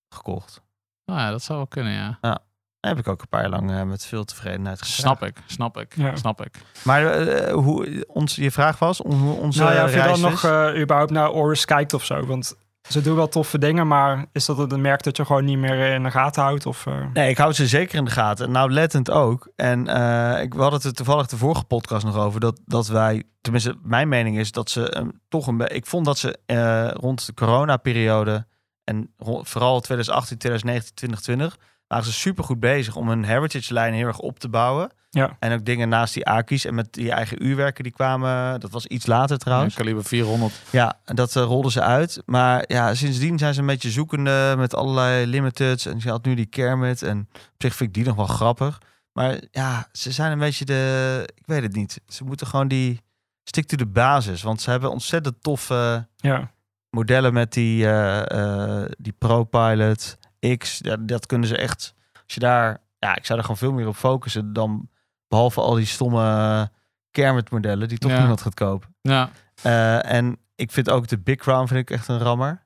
S4: gekocht.
S5: Nou ja, dat zou wel kunnen, ja.
S4: Heb ik ook een paar jaar lang eh, met veel tevredenheid gedragen.
S5: Snap ik, snap ik,
S6: Ja.
S5: snap ik.
S4: Maar eh, hoe, ons, je vraag was om hoe onze
S6: Nou ja, of je
S4: reis
S6: dan
S4: is.
S6: nog eh, überhaupt naar Oris kijkt of zo. Want ze doen wel toffe dingen, maar is dat het een merk dat je gewoon niet meer in de gaten houdt? Of, eh?
S4: Nee, ik hou ze zeker in de gaten. En nauwlettend ook. En eh, ik, we hadden het er toevallig de vorige podcast nog over. Dat, dat wij, tenminste mijn mening is, dat ze eh, toch een... be- Ik vond dat ze eh, rond de coronaperiode en ro- vooral 2018, 2019, 2020... waren ze supergoed bezig om hun heritage lijn heel erg op te bouwen.
S6: Ja.
S4: En ook dingen naast die Aki's en met die eigen uurwerken die kwamen. Dat was iets later trouwens.
S5: Ja, Kaliber 400.
S4: Ja, en dat eh, rolden ze uit. Maar ja, sindsdien zijn ze een beetje zoekende met allerlei limiteds. En ze had nu die Kermit. En op zich vind ik die nog wel grappig. Maar ja, ze zijn een beetje de... Ik weet het niet. Ze moeten gewoon die... Stick to de basis. Want ze hebben ontzettend toffe
S6: ja.
S4: modellen met die, eh eh die ProPilot X. Ja, dat kunnen ze echt... Als je daar... Ja, ik zou er gewoon veel meer op focussen dan... Behalve al die stomme Kermit modellen die toch
S5: Ja.
S4: niemand gaat kopen.
S5: Ja,
S4: Eh, en ik vind ook de Big Crown vind ik echt een rammer.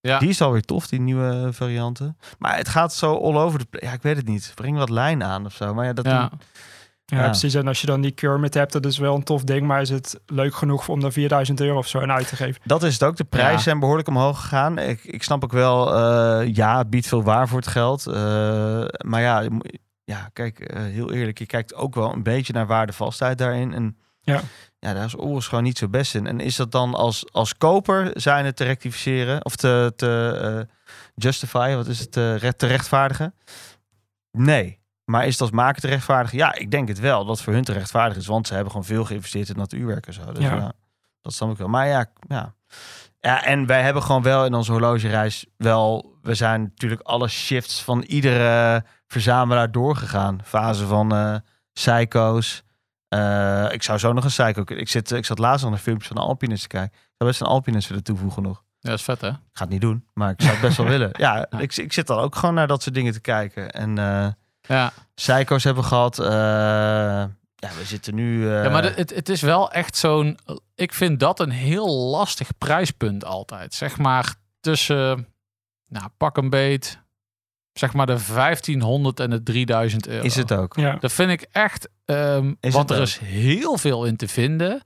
S5: Ja.
S4: Die is alweer tof, die nieuwe varianten. Maar het gaat zo all over de... pla- Ja, ik weet het niet. Breng wat lijn aan of zo. Maar ja, dat...
S5: ja.
S6: Ja,
S4: Ja.
S6: precies. En als je dan die Kermit hebt, dat is wel een tof ding. Maar is het leuk genoeg om daar 4000 euro of zo aan uit te geven?
S4: Dat is het ook. De prijzen
S5: Ja.
S4: zijn behoorlijk omhoog gegaan. Ik, ik snap ook wel, eh, ja, het biedt veel waar voor het geld. Eh, maar ja, je moet- ja kijk, eh, heel eerlijk, je kijkt ook wel een beetje naar waardevastheid daarin. En
S6: Ja.
S4: ja daar is Oris gewoon niet zo best in. En is dat dan als, als koper zijnde te rectificeren of te, te eh, justify, wat is het, eh, recht- te rechtvaardigen? Nee. Maar is het als maker te rechtvaardigen? Ja, ik denk het wel, dat het voor hun te rechtvaardigen is. Want ze hebben gewoon veel geïnvesteerd in dat uurwerk en zo. Dus
S6: Ja.
S4: ja. dat snap ik wel. Maar ja, ja. Ja, en wij hebben gewoon wel in onze horlogereis wel... We zijn natuurlijk alle shifts van iedere verzamelaar doorgegaan. Fase van eh psycho's. Eh, ik zou zo nog een psycho... Ik, zit, ik zat laatst nog naar filmpjes van de alpinist te kijken. Ik zou best een alpinist willen toevoegen nog.
S5: Ja, is vet hè?
S4: Ik ga het niet doen, maar ik zou het best wel willen. Ja, ik, ik zit dan ook gewoon naar dat soort dingen te kijken. En eh
S5: Ja,
S4: psycho's hebben we gehad. eh, ja, we zitten nu... eh,
S5: ja maar de- het, het is wel echt zo'n... Ik vind dat een heel lastig prijspunt altijd. Zeg maar tussen, nou pak een beet, zeg maar de 1500 en de 3000 euro.
S4: is het ook.
S6: Ja.
S5: Dat vind ik echt... ehm,
S4: Is
S5: want
S4: het
S5: er
S4: ook.
S5: is heel veel in te vinden.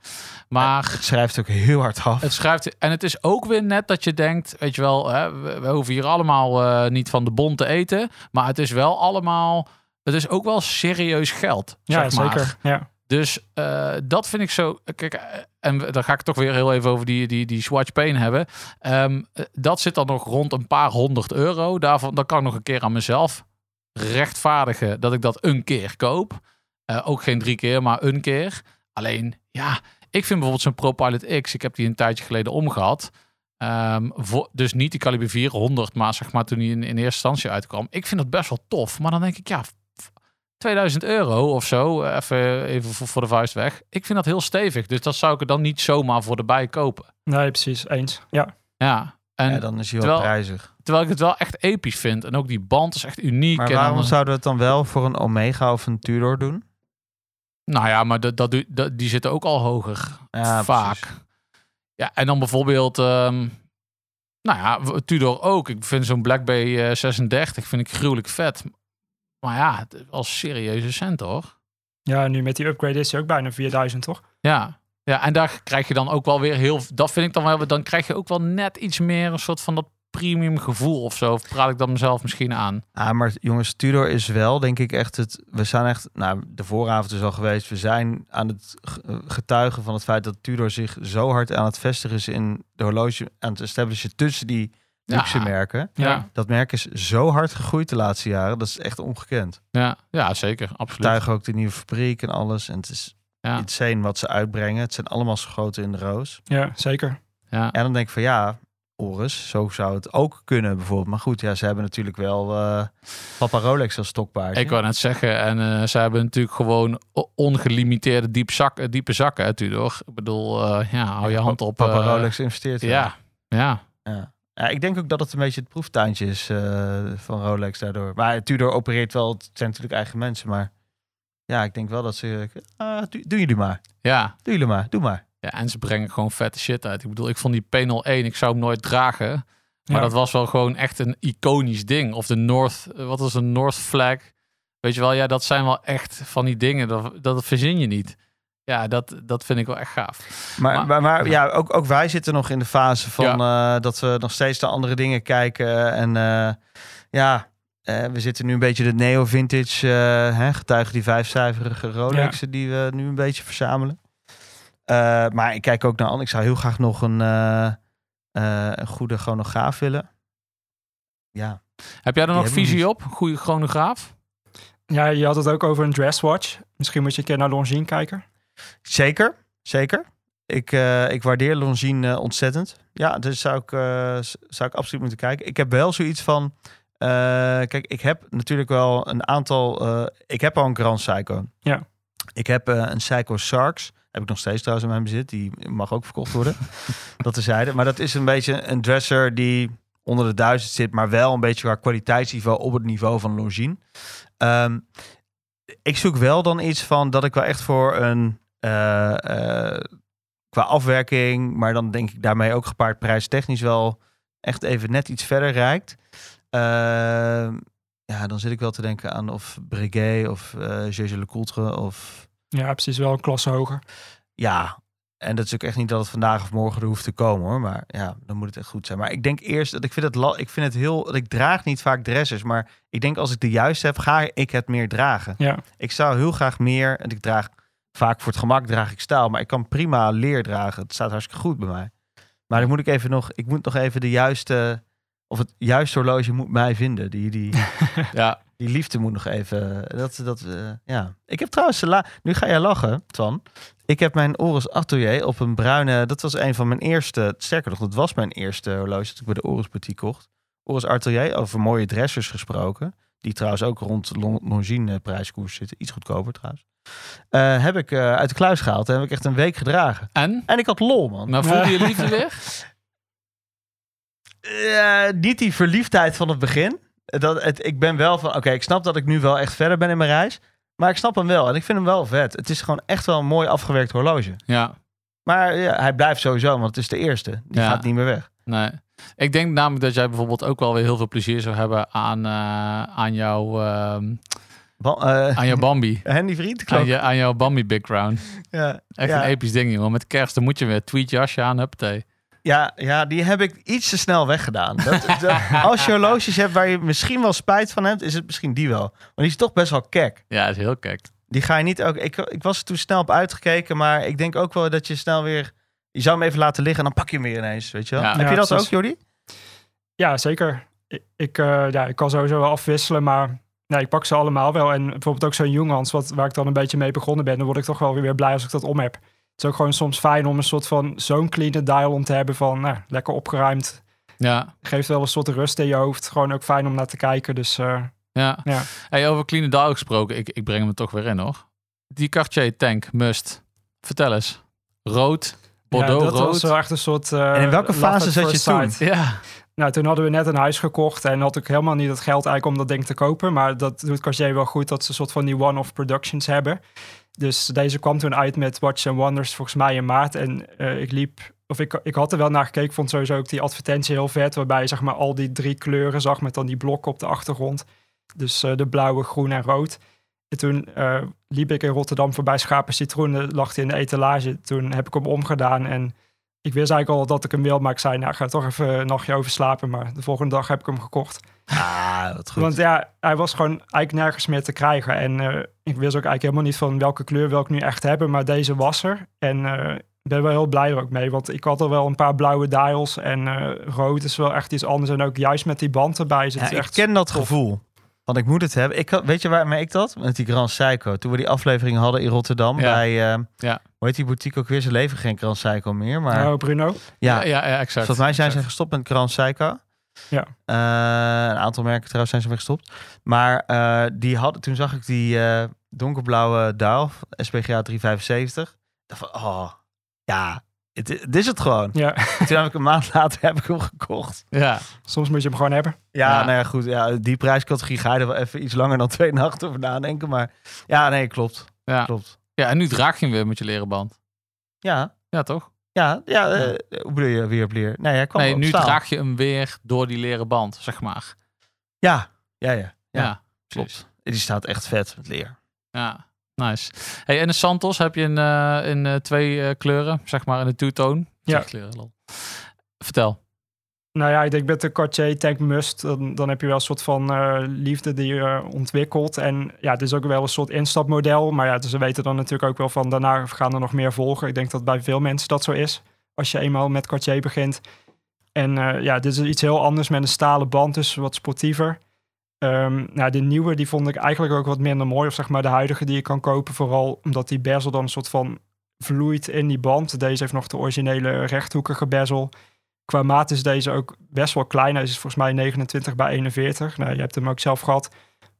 S5: Maar
S4: Het schrijft ook heel hard af.
S5: Het schrijft, en het is ook weer net dat je denkt, weet je wel, hè, we, we hoeven hier allemaal eh, niet van de bon te eten. Maar het is wel allemaal, het is ook wel serieus geld.
S6: Ja,
S5: zeg maar.
S6: zeker. Ja.
S5: Dus eh, dat vind ik zo. Kijk, eh, en we- dan ga ik toch weer heel even over die, die, die Swatch Pain hebben. Ehm, eh, dat zit dan nog rond een paar honderd euro. Daarvan dan kan ik nog een keer aan mezelf rechtvaardigen dat ik dat een keer koop. Eh, ook geen drie keer, maar een keer. Alleen, ja, ik vind bijvoorbeeld zo'n ProPilot X. Ik heb die een tijdje geleden omgehad. Ehm, voor, dus niet die kaliber 400, maar zeg maar toen die in, in eerste instantie uitkwam. Ik vind dat best wel tof. Maar dan denk ik, ja, 2000 euro of zo, eh, even, even voor, voor de vuist weg. Ik vind dat heel stevig. Dus dat zou ik er dan niet zomaar voor de bij kopen.
S6: Nee, precies. Eens. Ja.
S5: Ja. En
S4: ja, dan is hij wel
S5: terwijl-
S4: prijzig.
S5: terwijl ik het wel echt episch vind. En ook die band is echt uniek.
S4: Maar
S5: en
S4: waarom
S5: dan-
S4: zouden we het dan wel voor een Omega of een Tudor doen?
S5: Nou ja, maar dat, dat, doe- dat- die zitten ook al hoger.
S4: Ja,
S5: vaak.
S4: precies.
S5: Ja, en dan bijvoorbeeld, ehm, nou ja, w- Tudor ook. Ik vind zo'n Black Bay eh, 36 vind ik gruwelijk vet. Maar ja, het is wel een serieuze cent hoor.
S6: Ja, nu met die upgrade is hij ook bijna 4000, toch?
S5: Ja. ja, en daar krijg je dan ook wel weer heel, dat vind ik dan wel, dan krijg je ook wel net iets meer een soort van dat premium gevoel of zo. Of praat ik dat mezelf misschien aan?
S4: Ah, maar jongens, Tudor is wel, denk ik, echt het... We zijn echt... Nou, de vooravond is al geweest. We zijn aan het ge- getuigen van het feit dat Tudor zich zo hard aan het vestigen is in de horloge... aan het establishen tussen die
S5: Ja.
S4: luxe merken.
S5: Ja.
S4: Dat merk is zo hard gegroeid de laatste jaren. Dat is echt ongekend.
S5: Ja, ja zeker, absoluut.
S4: Tuigen ook de nieuwe fabriek en alles. En het is
S5: Ja.
S4: insane wat ze uitbrengen. Het zijn allemaal schoten in de roos.
S6: Ja, zeker.
S5: Ja.
S4: En dan denk ik van ja, Oris, zo zou het ook kunnen bijvoorbeeld. Maar goed, ja, ze hebben natuurlijk wel eh Papa Rolex als stokpaardje.
S5: Ik wou net zeggen, en eh, ze hebben natuurlijk gewoon o- ongelimiteerde diep zak, eh, diepe zakken, hè, Tudor. Ik bedoel, eh, ja, hou je hand op.
S4: Papa
S5: eh,
S4: Rolex investeert. wel.
S5: Ja, ja.
S4: Ja, Ik denk ook dat het een beetje het proeftuintje is eh, van Rolex daardoor. Maar Tudor opereert wel, het zijn natuurlijk eigen mensen, maar ja, ik denk wel dat ze... eh, doe- doen jullie maar,
S5: ja.
S4: doen jullie maar, doe maar.
S5: Ja, en ze brengen gewoon vette shit uit. Ik bedoel, ik vond die P01, ik zou hem nooit dragen. Maar
S6: Ja.
S5: dat was wel gewoon echt een iconisch ding. Of de North, eh, wat is een North Flag? Weet je wel, ja, dat zijn wel echt van die dingen. Dat, dat verzin je niet. Ja, dat, dat vind ik wel echt gaaf.
S4: Maar,
S5: Maar-
S4: maar, maar ja, ook, ook wij zitten nog in de fase van eh, dat we nog steeds naar andere dingen kijken. En eh, ja, eh, we zitten nu een beetje de neo-vintage eh, hè, getuigen, die vijfcijferige Rolexen die we nu een beetje verzamelen. Eh, maar ik kijk ook naar Anne. Ik zou heel graag nog een, eh, eh, een goede chronograaf willen. Ja,
S5: Heb jij
S4: Die
S5: er nog
S4: hebben we
S5: visie
S4: niet.
S5: op? Goede chronograaf?
S6: Ja, je had het ook over een dresswatch. Misschien moet je een keer naar Longines kijken.
S4: zeker. Zeker. Ik, eh, ik waardeer Longines eh, ontzettend. Ja, dus zou ik, eh, z- zou ik absoluut moeten kijken. Ik heb wel zoiets van... eh, kijk, ik heb natuurlijk wel een aantal... eh, ik heb al een Grand Psycho.
S6: Ja.
S4: Ik heb eh, een Psycho Sarks. Heb ik nog steeds trouwens in mijn bezit. Die mag ook verkocht worden. dat tezijde. Maar dat is een beetje een dresser die onder de duizend zit... maar wel een beetje qua kwaliteitsniveau op het niveau van Longines. Ehm, ik zoek wel dan iets van dat ik wel echt voor een... eh, eh, qua afwerking, maar dan denk ik daarmee ook gepaard prijstechnisch wel echt even net iets verder reikt. Ehm, ja, dan zit ik wel te denken aan of Breguet of eh Jeje Lecoultre of
S6: Ja, precies. Wel een klasse hoger.
S4: ja. En dat is ook echt niet dat het vandaag of morgen er hoeft te komen hoor. Maar ja, dan moet het echt goed zijn. Maar ik denk eerst dat ik vind het, la- ik vind het heel. Ik draag niet vaak dressers. Maar ik denk als ik de juiste heb, ga ik het meer dragen.
S6: Ja.
S4: Ik zou heel graag meer. En ik draag vaak voor het gemak draag ik staal, maar ik kan prima leer dragen. Het staat hartstikke goed bij mij. Maar dan moet ik even nog, ik moet nog even de juiste of het juiste horloge moet mij vinden. Die, die,
S5: Ja,
S4: die liefde moet nog even. Dat, dat, eh, ja. Ik heb trouwens, de la- nu ga jij lachen, Twan. Ik heb mijn Oris Atelier op een bruine. Dat was een van mijn eerste. Sterker nog, dat was mijn eerste horloge dat ik bij de Oris Boutique kocht. Oris Atelier, over mooie dressers gesproken. Die trouwens ook rond Lon- Longines prijskoers zitten. Iets goedkoper trouwens. Eh, heb ik eh, uit de kluis gehaald. En heb ik echt een week gedragen.
S5: En?
S4: En ik had lol, man.
S5: Nou, voelde je liefde weer?
S4: Eh, niet die verliefdheid van het begin. Dat, het, ik ben wel van, oké, ik snap dat ik nu wel echt verder ben in mijn reis. Maar ik snap hem wel en ik vind hem wel vet. Het is gewoon echt wel een mooi afgewerkt horloge.
S5: Ja,
S4: Maar ja, hij blijft sowieso, want het is de eerste. Die
S5: Ja.
S4: gaat niet meer weg.
S5: nee. Ik denk namelijk dat jij bijvoorbeeld ook wel weer heel veel plezier zou hebben aan, eh, aan, jouw, ehm,
S4: Ba- eh,
S5: aan jouw Bambi.
S4: Henny Vriend,
S5: Aan,
S4: klopt.
S5: je, aan jouw Bambi background.
S4: Ja,
S5: Echt
S4: ja,
S5: een episch ding, jongen. Met kerst dan moet je weer tweet jasje aan, huppatee.
S4: ja, ja, die heb ik iets te snel weggedaan. Dat, dat- als je horloges hebt waar je misschien wel spijt van hebt, is het misschien die wel. Maar die is toch best wel kek.
S5: Ja, is heel gek.
S4: Die ga je niet ook. Ik, ik was er toen snel op uitgekeken, maar ik denk ook wel dat je snel weer. Je zou hem even laten liggen en dan pak je hem weer ineens. Weet je wel?
S5: Ja.
S4: Heb je
S6: Ja, Eh,
S4: dat
S6: precies.
S4: ook, Jordi?
S6: Ja, zeker. Ik, ik, eh, ja, ik kan sowieso wel afwisselen, maar nee, ik pak ze allemaal wel. En bijvoorbeeld ook zo'n Junghans, wat, waar ik dan een beetje mee begonnen ben, dan word ik toch wel weer blij als ik dat om heb. Het is ook gewoon soms fijn om een soort van zo'n clean dial om te hebben van, nou, lekker opgeruimd.
S5: Ja,
S6: Geeft wel een soort rust in je hoofd. Gewoon ook fijn om naar te kijken. Dus eh,
S5: ja.
S6: Ja.
S5: Hey, over Clean Dial gesproken, ik, ik breng hem er toch weer in, hoor. Die Cartier tank, must. Vertel eens. Rood,
S6: ja,
S5: Bordeaux
S6: dat was
S5: rood.
S6: wel echt een soort... eh,
S4: En in welke
S6: love
S4: fase
S6: at
S4: zat je
S6: first
S4: toen?
S6: sight.
S5: Ja,
S6: Nou, toen hadden we net een huis gekocht en had ik helemaal niet het geld eigenlijk om dat ding te kopen. Maar dat doet Cartier wel goed dat ze een soort van die one-off productions hebben. Dus deze kwam toen uit met Watch and Wonders volgens mij in maart. En eh, ik liep, of ik, ik had er wel naar gekeken, vond sowieso ook die advertentie heel vet. Waarbij je zeg maar al die drie kleuren zag met dan die blokken op de achtergrond. Dus eh, de blauwe, groen en rood. En toen eh, liep ik in Rotterdam voorbij Schapen Citroenen, lag hij in de etalage. Toen heb ik hem omgedaan en ik wist eigenlijk al dat ik hem wil, maar ik zei, nou, ik ga toch even een nachtje over slapen. Maar de volgende dag heb ik hem gekocht.
S4: Ah, wat goed.
S6: Want ja, hij was gewoon eigenlijk nergens meer te krijgen. En eh, ik wist ook eigenlijk helemaal niet van welke kleur wil ik nu echt hebben. Maar deze was er. En eh, ik ben wel heel blij er ook mee. Want ik had al wel een paar blauwe dials. En eh, rood is wel echt iets anders. En ook juist met die band erbij. Is het
S4: Ja, ik
S6: echt...
S4: ken dat
S6: tof.
S4: gevoel. Want ik moet het hebben. Ik, had- weet je waarmee ik dat? Met die Grand Psycho. Toen we die aflevering hadden in Rotterdam
S5: Ja.
S4: bij. eh,
S5: Ja.
S4: Hoe heet die boutique ook weer? Ze leven geen Grand Psycho meer. Maar
S6: Oh, Bruno.
S4: ja,
S5: ja, ja, exact.
S4: volgens mij zijn ze
S5: exact.
S4: gestopt met Grand Psycho.
S6: Ja.
S4: Eh, een aantal merken trouwens zijn ze weer gestopt. Maar eh, die hadden, toen zag ik die eh, donkerblauwe dial, SPGA 375. Dacht van, oh, ja, het, het is het gewoon.
S6: Ja,
S4: Toen heb ik een maand later heb ik hem gekocht.
S5: Ja,
S6: soms moet je hem gewoon hebben.
S4: Ja,
S5: Ja.
S4: nou ja, goed. Ja, die prijscategorie ga je er wel even iets langer dan twee nachten over nadenken. Maar ja, nee, klopt.
S5: ja.
S4: Klopt.
S5: ja, en nu draag je hem weer met je leren band.
S4: Ja,
S5: Ja, toch?
S4: ja, ja. eh, hoe bedoel je weer op leer? Nee, hij kwam
S5: Nee,
S4: op
S5: nu
S4: staal.
S5: draag je hem weer door die leren band, zeg maar.
S4: Ja, ja, ja.
S5: Ja,
S4: Ja,
S5: precies.
S4: Die staat echt vet met leer.
S5: Ja, nice. Hey, en de Santos heb je in, eh, in eh, twee eh, kleuren, zeg maar in de two-tone.
S6: Ja.
S5: Twee kleuren, lol. Vertel.
S6: Nou ja, ik denk met de Cartier Tank Must, dan, dan heb je wel een soort van eh, liefde die je eh, ontwikkelt. En ja, het is ook wel een soort instapmodel. Maar ja, dus we weten dan natuurlijk ook wel van daarna gaan er nog meer volgen. Ik denk dat bij veel mensen dat zo is, als je eenmaal met Cartier begint. En eh, ja, dit is iets heel anders met een stalen band, dus wat sportiever. Ehm, nou, de nieuwe, die vond ik eigenlijk ook wat minder mooi. Of zeg maar de huidige die je kan kopen, vooral omdat die bezel dan een soort van vloeit in die band. Deze heeft nog de originele rechthoekige bezel qua maat is deze ook best wel klein. Hij is dus volgens mij 29 bij 41. Nou, je hebt hem ook zelf gehad.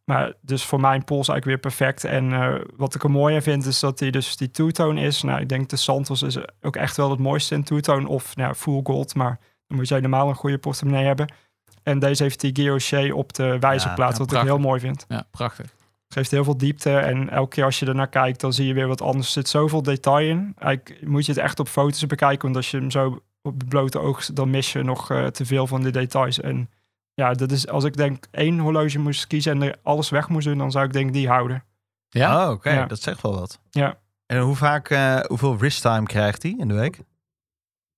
S6: Maar dus voor mijn pols eigenlijk weer perfect. En eh, wat ik er mooi aan vind is dat hij dus die two-tone is. Nou, ik denk de Santos is ook echt wel het mooiste in two-tone. Of nou, full gold, maar dan moet je helemaal een goede portemonnee hebben. En deze heeft die guilloché op de wijzerplaat,
S4: ja,
S6: wat ik
S5: prachtig.
S6: heel mooi vind.
S5: Ja, prachtig.
S6: Geeft heel veel diepte en elke keer als je ernaar kijkt, dan zie je weer wat anders. Er zit zoveel detail in. Eigenlijk moet je het echt op foto's bekijken, want als je hem zo op het blote oog, dan mis je nog eh, te veel van de details. En ja, dat is als ik denk één horloge moest kiezen en er alles weg moest doen, dan zou ik denk die houden. Ah,
S5: Ja?
S4: Oh, oké.
S6: Ja.
S4: Dat zegt wel wat.
S6: Ja.
S4: En hoe vaak, eh, hoeveel wrist time krijgt hij in de week?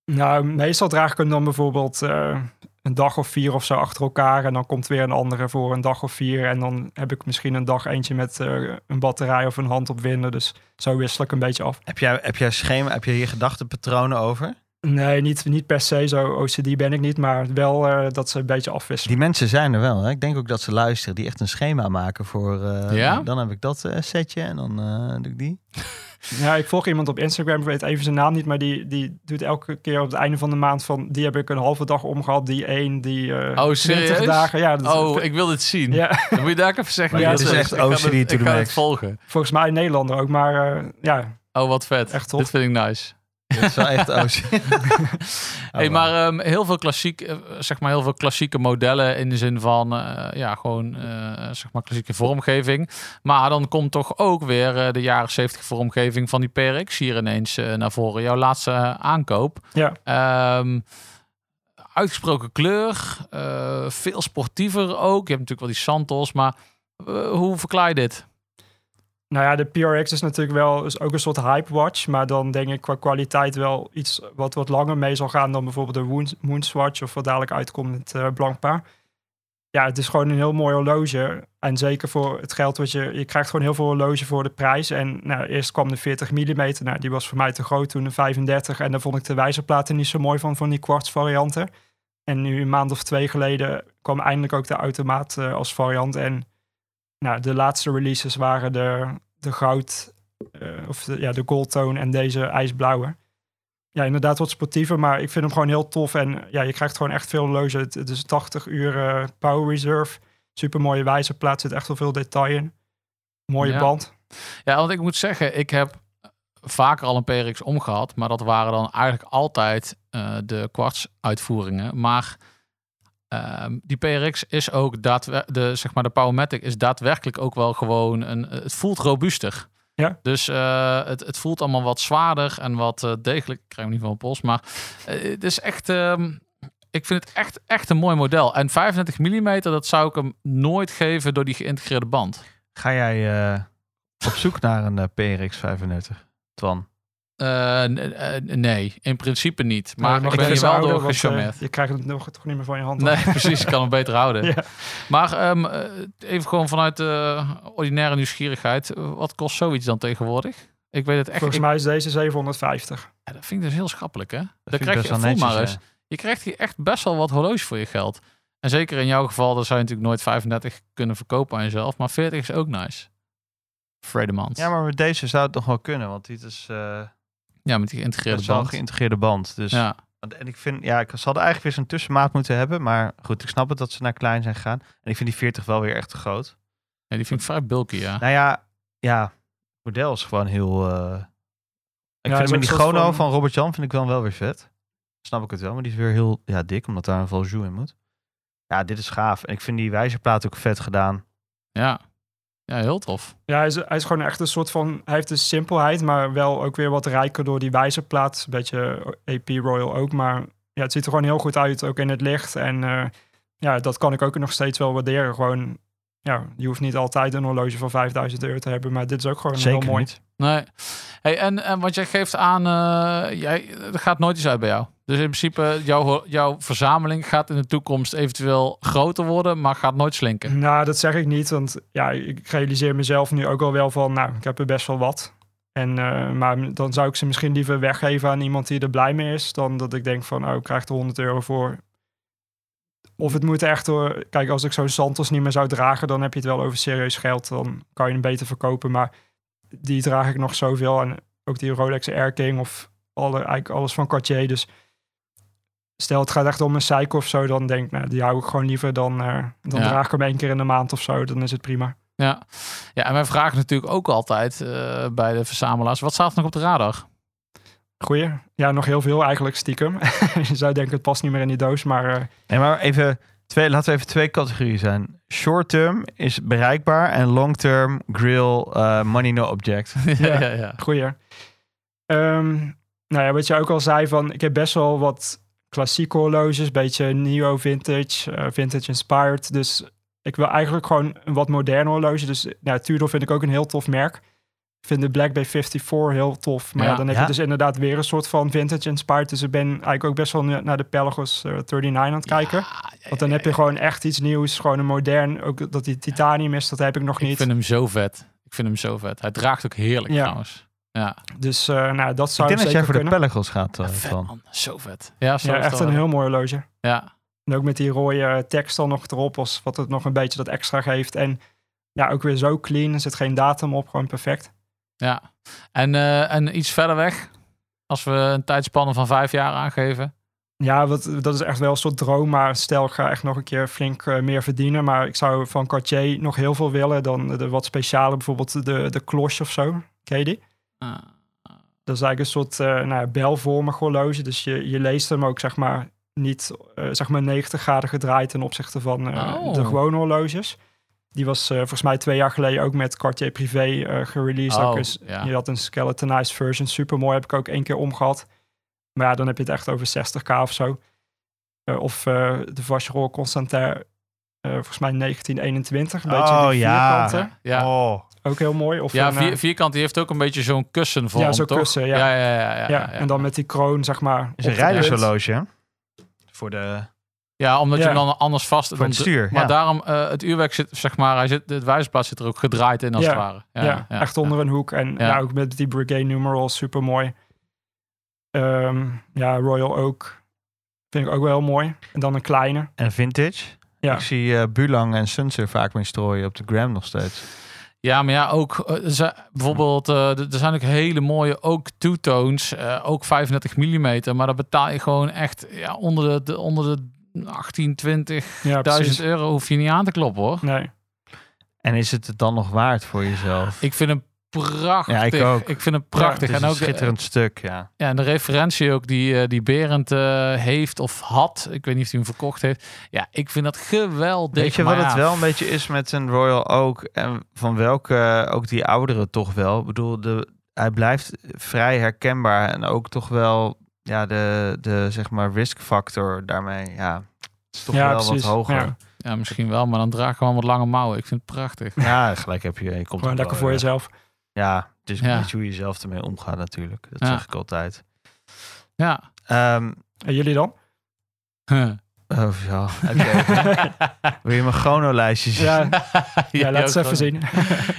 S6: Nou, meestal draag ik hem dan bijvoorbeeld eh, een dag of vier of zo achter elkaar en dan komt weer een andere voor een dag of vier en dan heb ik misschien een dag eentje met eh, een batterij of een hand op winden. Dus zo wissel ik een beetje af.
S4: Heb jij, heb jij schema, heb je hier gedachtenpatronen over?
S6: Nee, niet, niet per se zo OCD ben ik niet, maar wel eh, dat ze een beetje afwisselen.
S4: Die mensen zijn er wel. Hè? Ik denk ook dat ze luisteren, die echt een schema maken voor. eh,
S5: Ja?
S4: Dan heb ik dat eh, setje en dan eh, doe ik die.
S6: Ja, ik volg iemand op Instagram, ik weet even zijn naam niet, maar die, die doet elke keer op het einde van de maand van, die heb ik een halve dag omgehad, die één, die eh
S5: Oh,
S6: 20
S5: serieus?
S6: dagen. Ja, dat-
S5: Oh, ik wil dit zien.
S6: ja,
S5: Dan moet je daar ook even zeggen.
S6: Maar
S5: wie
S6: dit
S5: dat
S6: is
S4: echt
S5: Ik ga
S4: OCD to
S5: het-
S4: the
S5: Ik ga het
S4: max.
S5: volgen.
S6: volgens mij een Nederlander ook, maar eh, ja,
S5: Oh, wat vet.
S6: Echt tof.
S5: Dit vind ik nice.
S4: Dat is wel echt OC.
S6: Oh,
S5: hey, maar ehm, heel veel klassiek, eh, zeg maar heel veel klassieke modellen in de zin van eh, ja, gewoon eh, zeg maar klassieke vormgeving. Maar dan komt toch ook weer eh, de jaren 70 vormgeving van die PRX hier ineens eh, naar voren. Jouw laatste eh, aankoop.
S6: ja.
S5: Ehm, uitgesproken kleur, eh, veel sportiever ook. Je hebt natuurlijk wel die Santos, maar eh, hoe verklaar je dit?
S6: Nou ja, de PRX is natuurlijk wel is ook een soort hype watch, maar dan denk ik qua kwaliteit wel iets wat wat langer mee zal gaan dan bijvoorbeeld de Moon- Moonswatch of wat dadelijk uitkomt met eh Blancpain. Ja, het is gewoon een heel mooi horloge. En zeker voor het geld wat je... Je krijgt gewoon heel veel horloge voor de prijs. En nou, eerst kwam de 40 mm. Nou, die was voor mij te groot toen de 35. En daar vond ik de wijzerplaten niet zo mooi van, van die kwarts varianten. En nu een maand of twee geleden kwam eindelijk ook de automaat eh, als variant. En nou, de laatste releases waren de, de goud, eh, of de, ja, de gold tone en deze ijsblauwe. Ja, inderdaad wat sportiever, maar ik vind hem gewoon heel tof. En ja, je krijgt gewoon echt veel loze. Het, het is 80 uur eh, power reserve. Super mooie wijzerplaat, zit echt wel veel detail in. Mooie
S5: Ja.
S6: band.
S5: Ja, want ik moet zeggen, ik heb vaker al een PRX omgehad, maar dat waren dan eigenlijk altijd eh, de kwarts uitvoeringen. Maar ehm, die PRX is ook daadwer- de zeg maar de Powermatic is daadwerkelijk ook wel gewoon een. eh, Het voelt robuuster.
S6: Ja.
S5: Dus eh, het, het voelt allemaal wat zwaarder en wat eh, degelijk. Ik krijg hem niet van mijn pols, maar eh, het is echt. ehm, ik vind het echt, echt een mooi model. En 35 mm, dat zou ik hem nooit geven door die geïntegreerde band.
S4: Ga jij eh, op zoek naar een eh, PRX 35, Twan?
S5: Eh, n- eh, nee, in principe niet. Maar
S6: mag
S5: ik ben
S6: even
S5: hier wel
S6: houden,
S5: door
S6: want, eh,
S5: gecharmeerd.
S6: je krijgt het nog toch niet meer van je hand.
S5: Nee, precies. Ik kan hem beter houden.
S6: Ja.
S5: Maar ehm, eh, even gewoon vanuit eh, ordinaire nieuwsgierigheid. eh, Wat kost zoiets dan tegenwoordig? Ik weet het echt
S6: Volgens
S5: ik-
S6: mij is deze 750.
S5: ja, dat vind ik dus heel schappelijk, hè?
S4: Dat
S5: Dan
S4: vind ik
S5: krijg
S4: best
S5: je,
S4: wel
S5: voel maar
S4: netjes.
S5: eens.
S4: ja.
S5: Je krijgt hier echt best wel wat horloges voor je geld. En zeker in jouw geval, dan zou je natuurlijk nooit 35 kunnen verkopen aan jezelf. Maar 40 is ook nice. Fredemans.
S4: Ja, maar met deze zou het nog wel kunnen, want dit is, eh
S5: ja, met die
S4: het
S5: geïntegreerde
S4: is wel een
S5: band.
S4: geïntegreerde band. Dus
S5: Ja.
S4: Want- En ik vind, ja, ik, ze hadden eigenlijk weer zo'n tussenmaat moeten hebben. Maar goed, ik snap het dat ze naar klein zijn gegaan. En ik vind die 40 wel weer echt te groot.
S5: ja, die vind ik vrij bulky,
S6: Ah.
S5: ja.
S4: Nou ja, ja, het model is gewoon heel. eh, ik
S6: het is
S4: vind
S6: ook
S4: hem in die
S6: een soort
S4: Gono
S6: van-
S4: van, Robert Jan vind ik dan wel weer vet. Snap ik het wel, maar die is weer heel ja, dik, omdat daar een Valjou in moet. Ja, dit is gaaf. En ik vind die wijzerplaat ook vet gedaan.
S5: Ja, ja heel tof.
S6: Ja, hij is, hij is gewoon echt een soort van... Hij heeft de simpelheid, maar wel ook weer wat rijker door die wijzerplaat. Een beetje AP Royal ook, maar ja, het ziet er gewoon heel goed uit, ook in het licht. En eh, ja, dat kan ik ook nog steeds wel waarderen. Gewoon, ja, je hoeft niet altijd een horloge van 5000 euro te hebben, maar dit is ook gewoon
S4: Zeker
S6: heel mooi.
S4: niet.
S5: Nee. Hey, en, en wat jij geeft aan, eh, jij, er gaat nooit iets uit bij jou. Dus in principe, jouw, ho- jouw verzameling gaat in de toekomst eventueel groter worden, maar gaat nooit slinken.
S6: Nou, dat zeg ik niet, want ja, ik realiseer mezelf nu ook al wel van, nou, ik heb er best wel wat. En, eh, maar dan zou ik ze misschien liever weggeven aan iemand die er blij mee is, dan dat ik denk van, oh, ik krijg er 100 euro voor. Of het moet echt door, kijk, als ik zo'n Santos niet meer zou dragen, dan heb je het wel over serieus geld, dan kan je hem beter verkopen. Maar die draag ik nog zoveel en ook die Rolex Air King of alle, eigenlijk alles van Cartier. Dus stel het gaat echt om een cycle of zo, dan denk ik, nou, die hou ik gewoon liever dan, eh, dan
S5: Ja.
S6: draag ik hem één keer in de maand of zo, dan is het prima.
S5: Ja. ja, en wij vragen natuurlijk ook altijd eh, bij de verzamelaars, wat staat er nog op de radar?
S6: Goeie. Ja, nog heel veel eigenlijk stiekem. Je zou denken, het past niet meer in die doos, maar eh,
S4: Nee, maar even twee, laten we even twee categorieën zijn. Short term is bereikbaar en long term grill eh, money no object.
S5: ja, ja, ja.
S6: Goeie. Ehm, nou ja, wat je ook al zei, van, ik heb best wel wat klassieke horloges, beetje neo-vintage, eh, vintage-inspired. Dus ik wil eigenlijk gewoon een wat moderne horloge. Dus eh, nou, Tudor vind ik ook een heel tof merk. Ik vind de Black Bay 54 heel tof. Maar ja,
S5: Ja,
S6: dan heb
S4: ja.
S6: je dus inderdaad weer een soort van vintage-inspired. Dus ik ben eigenlijk ook best wel nu- naar de Pelagos eh, 39 aan het kijken.
S5: Ah,
S6: Want dan heb
S4: eh,
S6: je gewoon echt iets nieuws, gewoon een modern. Ook dat die titanium is, dat heb ik nog
S5: Ik
S6: niet.
S5: vind hem zo vet. Ik vind hem zo vet. Hij draagt ook heerlijk
S6: Ja.
S5: trouwens. Ja,
S6: Dus eh, nou, dat
S4: Ik
S6: zou
S4: denk dat jij
S6: zeker
S4: voor
S6: kunnen.
S4: de Pelagos gaat, eh,
S5: vet
S4: Twan.
S5: man. Zo vet. Ja, zo
S6: Ja,
S5: is
S6: echt
S5: dat
S6: een
S5: wel.
S6: heel mooi horloge.
S5: Ja.
S6: En ook met die rode eh, tekst dan nog erop, als wat het nog een beetje dat extra geeft. En ja, ook weer zo clean, er zit geen datum op, gewoon perfect.
S5: Ja. En, eh, en iets verder weg, als we een tijdspanne van vijf jaar aangeven.
S6: Ja, wat, dat is echt wel een soort droom. Maar stel, ik ga echt nog een keer flink eh, meer verdienen. Maar ik zou van Cartier nog heel veel willen dan de wat speciale, bijvoorbeeld de, de kloche of zo. Ken je die? Ah.
S5: Eh,
S6: Dat is eigenlijk een soort eh nou ja, belvormig horloge. Dus je, je leest hem ook, zeg maar, niet eh, zeg maar 90 graden gedraaid ten opzichte van eh,
S5: Oh.
S6: de gewone horloges. Die was eh, volgens mij twee jaar geleden ook met Cartier Privé eh, gereleased.
S5: Oh,
S6: Ook eens-
S5: ja.
S6: Je had een skeletonized version, super mooi, heb ik ook één keer omgehad. Maar ja, dan heb je het echt over 60k of zo. Eh, of eh, de Vacherol Constantin, eh, volgens mij 1921. Een beetje
S4: Oh,
S6: die
S4: ja.
S6: vierkanten,
S5: Ah, ja.
S4: Oh.
S6: ook heel mooi. Of
S5: Ja,
S6: een, eh,
S5: vier- vierkant die heeft ook een beetje zo'n kussen voor
S6: Ja, zo'n
S5: toch?
S6: kussen, ja.
S5: Ja, ja, ja, ja,
S6: ja,
S5: ja.
S6: en dan met die kroon, zeg maar.
S4: Is een
S6: op de punt.
S4: rijdershorloge, hè? Voor, de,
S5: Ja, omdat je
S6: Ja.
S5: hem dan anders vast...
S4: voor
S5: dan
S4: het
S5: dru-
S4: stuur.
S5: Maar
S4: ja.
S5: daarom, eh, het uurwerk zit, zeg maar, hij zit, het wijzerblad zit er ook gedraaid in als
S6: Ja,
S5: het ware.
S6: Ja, echt onder een hoek. En ja. ook met die Brigade numeral, super mooi. ja, Royal Oak vind ik ook wel heel mooi. En dan een kleine.
S4: En vintage.
S6: Ja.
S4: Ik zie eh, Bulang en Sunser vaak mee strooien op de gram nog steeds.
S5: Ja, maar ja, ook eh, er zijn- bijvoorbeeld, eh, d- er zijn ook hele mooie, ook two-tones, eh, ook 35 mm, maar dat betaal je gewoon echt ja, onder de, de- onder de 18, 20.000
S6: Ja, precies.
S5: euro hoef je niet aan te kloppen hoor.
S6: Nee,
S4: En is het het dan nog waard voor jezelf?
S5: Ik vind hem prachtig.
S4: Ja, ik ook.
S5: vind hem prachtig.
S4: Het is
S5: en
S4: een
S5: ook eh,
S4: schitterend stuk, ja.
S5: ja, en de referentie ook die, eh, die Berend eh, heeft of had. Ik weet niet of hij hem verkocht heeft. Ja, ik vind dat geweldig.
S4: Weet je wat
S5: maar
S4: het
S5: ja,
S4: wel een beetje is met een Royal Oak en van welke eh, ook die ouderen toch wel? Ik bedoel, de, hij blijft vrij herkenbaar en ook toch wel ja, de, de zeg maar risk factor daarmee. Ja, het is toch
S6: Ja,
S4: wel wat
S6: precies.
S4: hoger.
S6: Ja.
S4: Ja,
S5: Ja, misschien wel, maar dan draag ik gewoon wat lange mouwen. Ik vind het prachtig.
S4: gelijk heb je. je komt
S6: gewoon
S4: er
S6: lekker
S4: wel,
S6: voor
S4: eh,
S6: jezelf.
S4: Ja, het is
S5: Ja.
S4: niet hoe je zelf ermee omgaat natuurlijk. Dat
S5: Ja.
S4: zeg ik altijd.
S5: Ja.
S4: Ehm,
S6: En jullie dan?
S5: Huh.
S4: oh, ja, oké. Wil je mijn chronolijstje zien?
S6: ja, ja, laat
S5: jouw
S6: eens even
S5: groen-
S6: zien.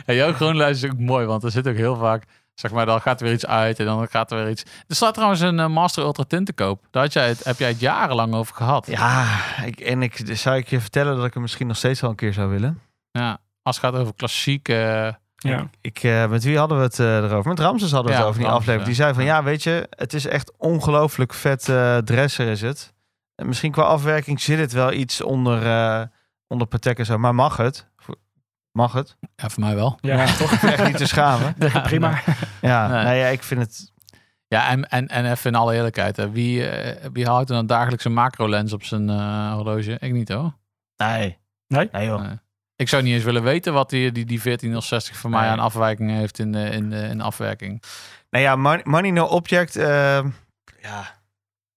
S5: Ja, jouw groenlijst is ook mooi, want er zit ook heel vaak, zeg maar, dan gaat er weer iets uit en dan gaat er weer iets. Er staat trouwens een eh, Master Ultra tint te koop. Daar had jij het, heb jij het jarenlang over gehad.
S4: Ja, ik, en ik zou ik je vertellen dat ik hem misschien nog steeds wel een keer zou willen.
S5: Ja, als het gaat over klassieke. eh,
S6: Ja.
S4: Ik, eh, met wie hadden we het eh, erover? Met Ramses hadden we
S5: Ja,
S4: het over
S5: met
S4: die
S5: Ramses,
S4: aflevering. Die zei van, ja, weet je, het is echt ongelooflijk vet eh, dresser is het. En misschien qua afwerking zit het wel iets onder, eh onder Patek en zo. Maar mag het? Mag het?
S5: ja, voor mij wel.
S6: Ja,
S4: Ik ben echt niet te schamen.
S5: Ja,
S6: prima.
S5: nou.
S4: Ja,
S5: Nee.
S4: nou ja, ik vind het...
S5: Ja, en, en, en even in alle eerlijkheid, hè, wie, eh, wie houdt er dan dagelijks een macro-lens op zijn eh, horloge? Ik niet hoor.
S4: Nee.
S6: Nee?
S4: Nee, joh.
S5: Nee. Ik zou niet eens willen weten wat die, die, die 1460 voor mij
S4: Nee.
S5: aan afwijkingen heeft in, de- in, de- in de afwerking.
S4: Nou ja, Mon- Money No Object. eh, ja.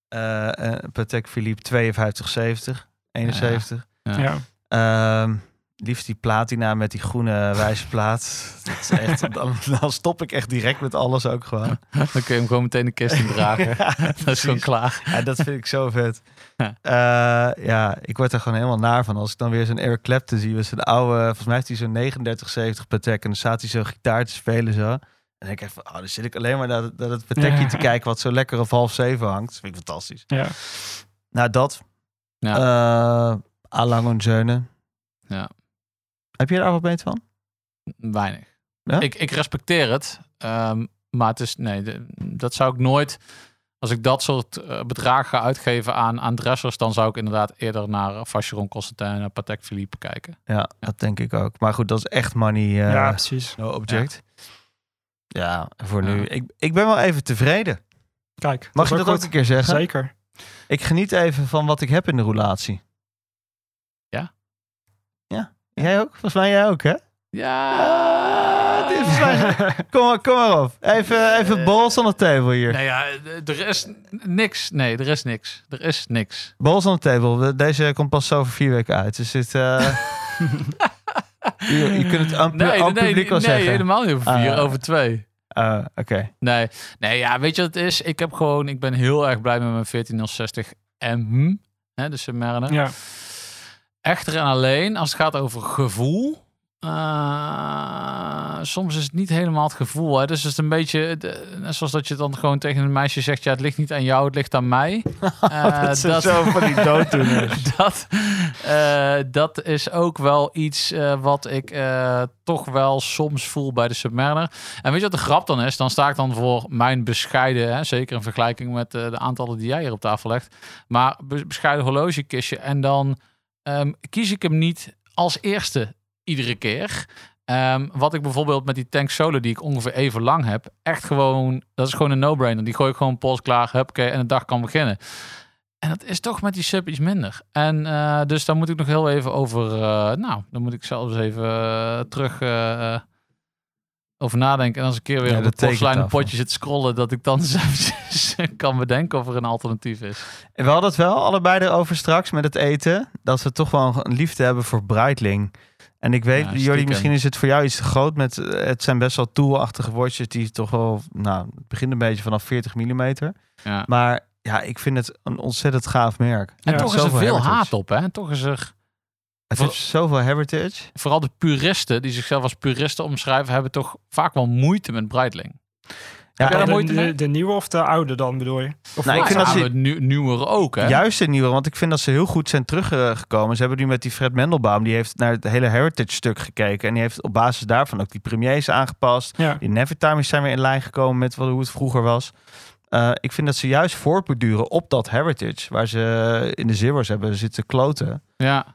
S4: eh, eh, Patek Philippe 5270, 71.
S6: ja.
S4: Ehm, liefst die platina met die groene wijzerplaat. Dat is echt, dan, dan stop ik echt direct met alles ook gewoon.
S5: Dan kun je hem gewoon meteen de kist in dragen.
S4: Ja,
S5: Dat is gewoon
S4: precies.
S5: klaar.
S4: Ja, dat vind ik zo vet.
S5: Ja.
S4: Eh, ja, ik word er gewoon helemaal naar van. Als ik dan weer zo'n Eric Clapton zie. met zijn oude, volgens mij heeft hij zo'n 3970 Patek. En dan staat hij zo gitaar te spelen zo. En dan denk ik echt van, oh, dan zit ik alleen maar naar, dat- naar het Patekje
S6: Ja.
S4: te kijken... wat zo lekker op half zeven hangt. Dat vind ik fantastisch.
S6: Ja.
S4: Nou, dat.
S5: Ja.
S4: Eh, Alain Onzeunen.
S5: Ja.
S4: Heb je daar wat mee van?
S5: Weinig.
S4: Ja?
S5: Ik, ik respecteer het. ehm, maar het is, nee, de- dat zou ik nooit. Als ik dat soort eh, bedragen ga uitgeven aan, aan dressers, dan zou ik inderdaad eerder naar eh, Vacheron Constantin en Patek Philippe kijken.
S4: Ja, dat denk ik ook. Maar goed, dat is echt money. eh,
S6: ja, precies.
S4: no object. Ja, voor
S5: Ja.
S4: nu. Ik, ik ben wel even tevreden.
S6: Kijk,
S4: Mag je
S6: is
S4: dat ook
S6: goed.
S4: een keer zeggen?
S6: Zeker.
S4: Ik geniet even van wat ik heb in de roulatie.
S5: Ja? Eh.
S4: Ja. Jij ook? Volgens mij jij ook, hè?
S5: Ja,
S4: Ah, dit is mijn- Kom maar, kom maar op. Even,
S5: Eh.
S4: even balls on the table hier.
S5: Nou ja, d- er is n- niks. Nee, er is niks. Er is niks.
S4: Balls on the table. We- Deze komt pas over vier weken uit. Dus dit... eh, je, je kunt het aan, pu-
S5: Nee,
S4: aan
S5: nee, nee,
S4: publiek wel
S5: nee
S4: zeggen.
S5: helemaal niet over vier,
S4: Ah.
S5: over twee.
S4: Eh, Oké.
S5: Nee, nee, ja, weet je wat het is? Ik heb gewoon, ik ben heel erg blij met mijn 1460 M, hè, de Submariner.
S6: Ja.
S5: Echter en alleen, als het gaat over gevoel, eh, soms is het niet helemaal het gevoel. Hè? Dus het is een beetje het, eh, net zoals dat je dan gewoon tegen een meisje zegt: ja, het ligt niet aan jou, het ligt aan mij. Eh,
S4: dat zijn zo van die dooddoeners.
S5: dat, eh, dat is ook wel iets eh, wat ik eh, toch wel soms voel bij de Submariner. En weet je wat de grap dan is? Dan sta ik dan voor mijn bescheiden, hè, zeker in vergelijking met eh, de aantallen die jij hier op tafel legt, maar be- bescheiden horlogekistje. En dan ehm, kies ik hem niet als eerste iedere keer. Ehm, wat ik bijvoorbeeld met die tank solo die ik ongeveer even lang heb, echt gewoon, dat is gewoon een no-brainer. Die gooi ik gewoon pols klaar, hupke en de dag kan beginnen. En dat is toch met die sub iets minder. En eh, dus daar moet ik nog heel even over. eh, nou, dan moet ik zelfs even eh, terug eh, eh, over nadenken. En als ik een keer weer
S4: Ja,
S5: op
S4: dat
S5: het porseleinen
S4: tekentafel.
S5: potje zit te scrollen, dat ik dan zelfs kan bedenken of er een alternatief is.
S4: We hadden het wel allebei erover straks met het eten. Dat we toch wel een liefde hebben voor Breitling. En ik weet,
S5: Ja,
S4: Jordi,
S5: stiekem.
S4: misschien is het voor jou iets te groot. Met, eh, het zijn best wel toolachtige woordjes die toch wel... Nou, het begint een beetje vanaf 40 mm.
S5: Ja.
S4: Maar ja, ik vind het een ontzettend gaaf merk.
S5: En
S6: Ja,
S5: toch is er
S4: zoveel
S5: veel
S4: heritage.
S5: haat op, hè? En toch is er
S4: Het
S5: Voor-
S4: heeft zoveel heritage.
S5: vooral de puristen die zichzelf als puristen omschrijven, hebben toch vaak wel moeite met Breitling.
S4: Ja, eh,
S5: jij daar
S6: de,
S5: moeite mee?
S6: de, de nieuwe of de oude dan bedoel je? Of
S4: Nou, ik
S5: Maar
S4: vind dat ze-
S5: samen nieuw- nieuwere ook, hè?
S4: Juist de nieuwe, want ik vind dat ze heel goed zijn teruggekomen. Ze hebben nu met die Fred Mendelbaum, die heeft naar het hele heritage stuk gekeken. En die heeft op basis daarvan ook die premiers aangepast.
S6: Ja.
S4: Die Nevertimers zijn weer in lijn gekomen met wat, hoe het vroeger was. Eh, ik vind dat ze juist voortborduren op dat heritage. Waar ze in de Zero's hebben zitten kloten.
S5: Ja.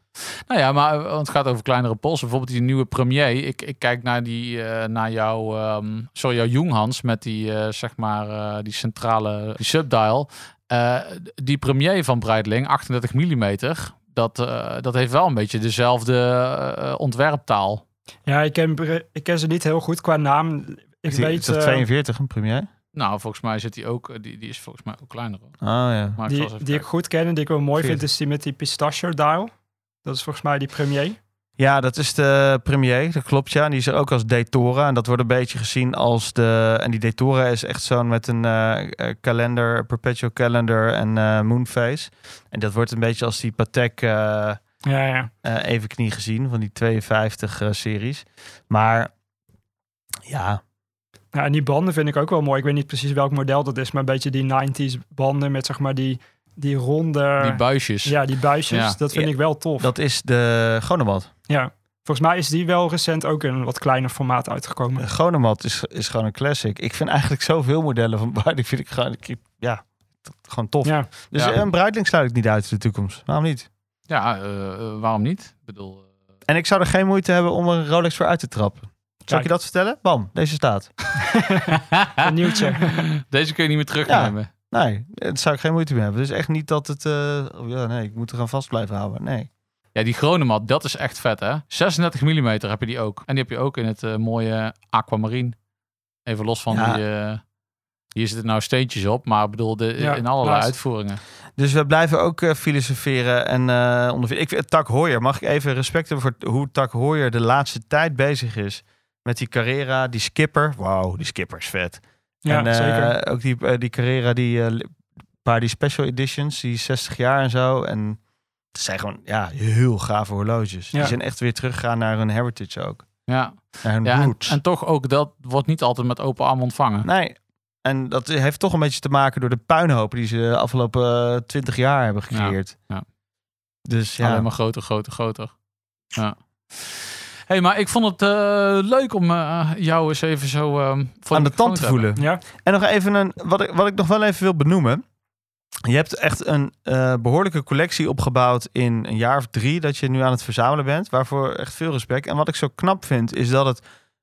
S5: Nou ja, maar eh, want het gaat over kleinere polsen. Bijvoorbeeld die nieuwe premier. Ik, ik kijk naar, die, eh, naar jouw, ehm sorry, jouw Junghans met die, eh, zeg maar, eh, die centrale die subdial. Eh, die premier van Breitling, 38 mm, dat, eh, dat heeft wel een beetje dezelfde eh, ontwerptaal.
S6: Ja, ik ken, Bre- ik ken ze niet heel goed qua naam. Ik
S4: Is die-
S6: weet,
S4: is dat
S6: eh,
S4: 42 een premier?
S5: Nou, volgens mij zit die ook, eh, die, die is volgens mij ook kleiner. hoor.
S4: Oh ja.
S5: Maar ik zal eens
S6: die,
S5: even
S6: die ik
S5: kijken.
S6: goed ken en die ik wel mooi vind,
S4: Veertig.
S6: is die met die pistachio dial. Dat is volgens mij die premier.
S4: Ja, dat is de premier, dat klopt ja. En die is er ook als Detora. En dat wordt een beetje gezien als de... En die Detora is echt zo'n met een eh, eh, kalender, perpetual calendar en eh, moonface. En dat wordt een beetje als die Patek eh, eh,
S6: Ja, ja.
S4: evenknie gezien van die 52 eh, series. Maar ja,
S6: Ja, en die banden vind ik ook wel mooi. Ik weet niet precies welk model dat is, maar een beetje die 90s banden met zeg maar die, die ronde...
S5: Die buisjes.
S6: eh, ja, die buisjes.
S5: Ja.
S6: Dat vind
S4: Ja.
S6: ik wel tof.
S4: dat is de Gonemat.
S6: Ja. Volgens mij is die wel recent ook in een wat kleiner formaat uitgekomen.
S4: De Gonemat is, is gewoon een classic. Ik vind eigenlijk zoveel modellen van Breitling vind ik gewoon... ik- ja, t- gewoon tof.
S6: Ja,
S4: Dus
S5: Ja.
S4: een Breitling sluit ik niet uit in de toekomst. Waarom niet?
S5: Ja, eh, eh, waarom niet? Ik bedoel... eh,
S4: En ik zou er geen moeite hebben om er een Rolex voor uit te trappen. Zou ik
S6: Kijk.
S4: je dat vertellen? Bam, deze staat.
S6: Een nieuwtje.
S5: eh, Deze kun je niet meer terugnemen.
S4: Nee, daar zou ik geen moeite mee hebben. Dus echt niet dat het... eh, oh ja, nee, ik moet er aan vast blijven houden. Nee.
S5: Ja, die Gronemat, dat is echt vet, hè? 36 mm heb je die ook. En die heb je ook in het eh, mooie aquamarine. Even los van
S4: Ja.
S5: die... eh, hier zitten nou steentjes op, maar ik bedoel, de,
S6: Ja,
S5: in allerlei
S6: naast.
S5: uitvoeringen.
S4: Dus we blijven ook eh, filosoferen en eh ondervinden. Ik vind Tak Hoyer, mag ik even respect hebben voor hoe Tak Hoyer de laatste tijd bezig is? Met die Carrera, die skipper. Wauw, die skipper is vet.
S6: Ja,
S4: en, eh,
S6: zeker.
S4: Ook die, eh, die Carrera, die eh, li- paar die special editions, die 60 jaar en zo. En het zijn gewoon ja, heel gave horloges.
S6: Ja.
S4: Die zijn echt weer teruggegaan naar hun heritage ook.
S5: Ja,
S4: Naar hun
S5: ja en,
S4: roots.
S5: en toch ook, dat wordt niet altijd met open arm ontvangen.
S4: Nee. En dat heeft toch een beetje te maken door de puinhopen die ze de afgelopen eh, 20 jaar hebben gecreëerd.
S5: Ja, ja.
S4: Dus ja,
S5: Alleen maar groter, groter, groter. Ja. hey, maar ik vond het eh, leuk om eh, jou eens even zo... eh, voor
S4: aan de
S5: microfoon
S4: tand te
S5: hebben.
S4: voelen.
S6: Ja.
S4: En nog even een, wat ik, wat ik nog wel even wil benoemen. Je hebt echt een eh, behoorlijke collectie opgebouwd in een jaar of drie dat je nu aan het verzamelen bent. Waarvoor echt veel respect. En wat ik zo knap vind is dat het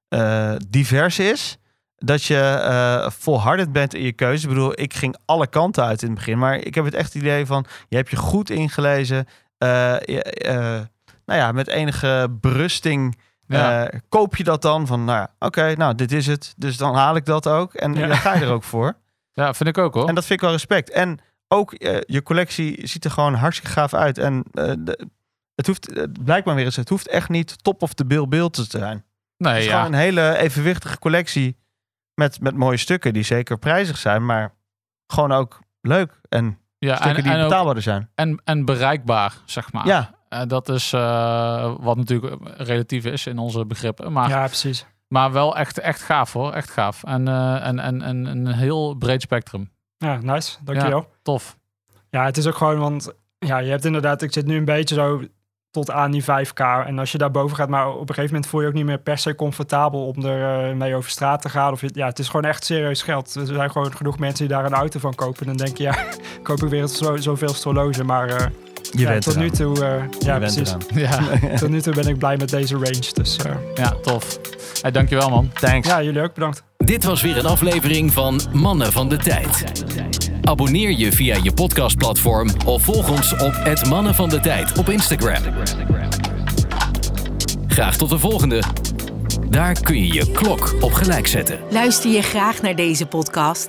S4: eh, divers is. Dat je eh, volhardend bent in je keuze. Ik bedoel, ik ging alle kanten uit in het begin. Maar ik heb het echt idee van, je hebt je goed ingelezen. Eh, je, eh, nou ja, met enige berusting
S5: Ja.
S4: eh, koop je dat dan van, nou ja, oké, nou dit is het. Dus dan haal ik dat ook. En
S6: Ja. Oh.
S4: dan ga je er ook voor.
S5: ja, vind ik ook, hoor.
S4: En dat vind ik wel respect. En ook eh, je collectie ziet er gewoon hartstikke gaaf uit. En eh, de- het hoeft, eh, blijkbaar weer eens, het hoeft echt niet top of the bill bill te zijn.
S5: nee,
S6: Eh,
S4: het is
S5: ja.
S4: gewoon een hele evenwichtige collectie met, met mooie stukken die zeker prijzig zijn, maar gewoon ook leuk. En
S5: ja,
S4: stukken
S5: en,
S4: die
S5: en, ook-
S4: betaalbaarder zijn.
S6: Ah.
S5: en, en bereikbaar, zeg maar.
S4: ja,
S5: Eh, dat is eh, wat natuurlijk relatief is in onze begrippen. Maar,
S6: Ja, precies.
S5: maar wel echt, echt gaaf hoor. Echt gaaf. En, eh, en, en, en een heel breed spectrum.
S6: Ja, nice. Dankjewel.
S5: Tof.
S6: Ja, het is ook gewoon, want ja, je hebt inderdaad, ik zit nu een beetje zo tot aan die 5K. En als je daarboven gaat, maar op een gegeven moment voel je je ook niet meer per se comfortabel om er eh, mee over straat te gaan. Of je- ja, het is gewoon echt serieus geld. Er zijn gewoon genoeg mensen die daar een auto van kopen. En dan denk je, ja, koop ik weer zo, zoveel horloge. Maar eh,
S4: Je
S6: ja,
S4: bent
S6: tot
S4: eraan.
S6: nu toe, eh, ja,
S4: Je bent
S6: precies.
S4: eraan.
S5: Ja,
S6: Tot nu toe ben ik blij met deze range. Dus eh,
S5: ja tof. Hey, dankjewel man.
S4: Thanks.
S6: ja, jullie ook bedankt.
S2: Dit was weer een aflevering van Mannen van de Tijd. Abonneer je via je podcastplatform of volg ons op het Mannen van de Tijd op Instagram. Graag tot de volgende. Daar kun je je klok op gelijk zetten.
S1: Luister je graag naar deze podcast?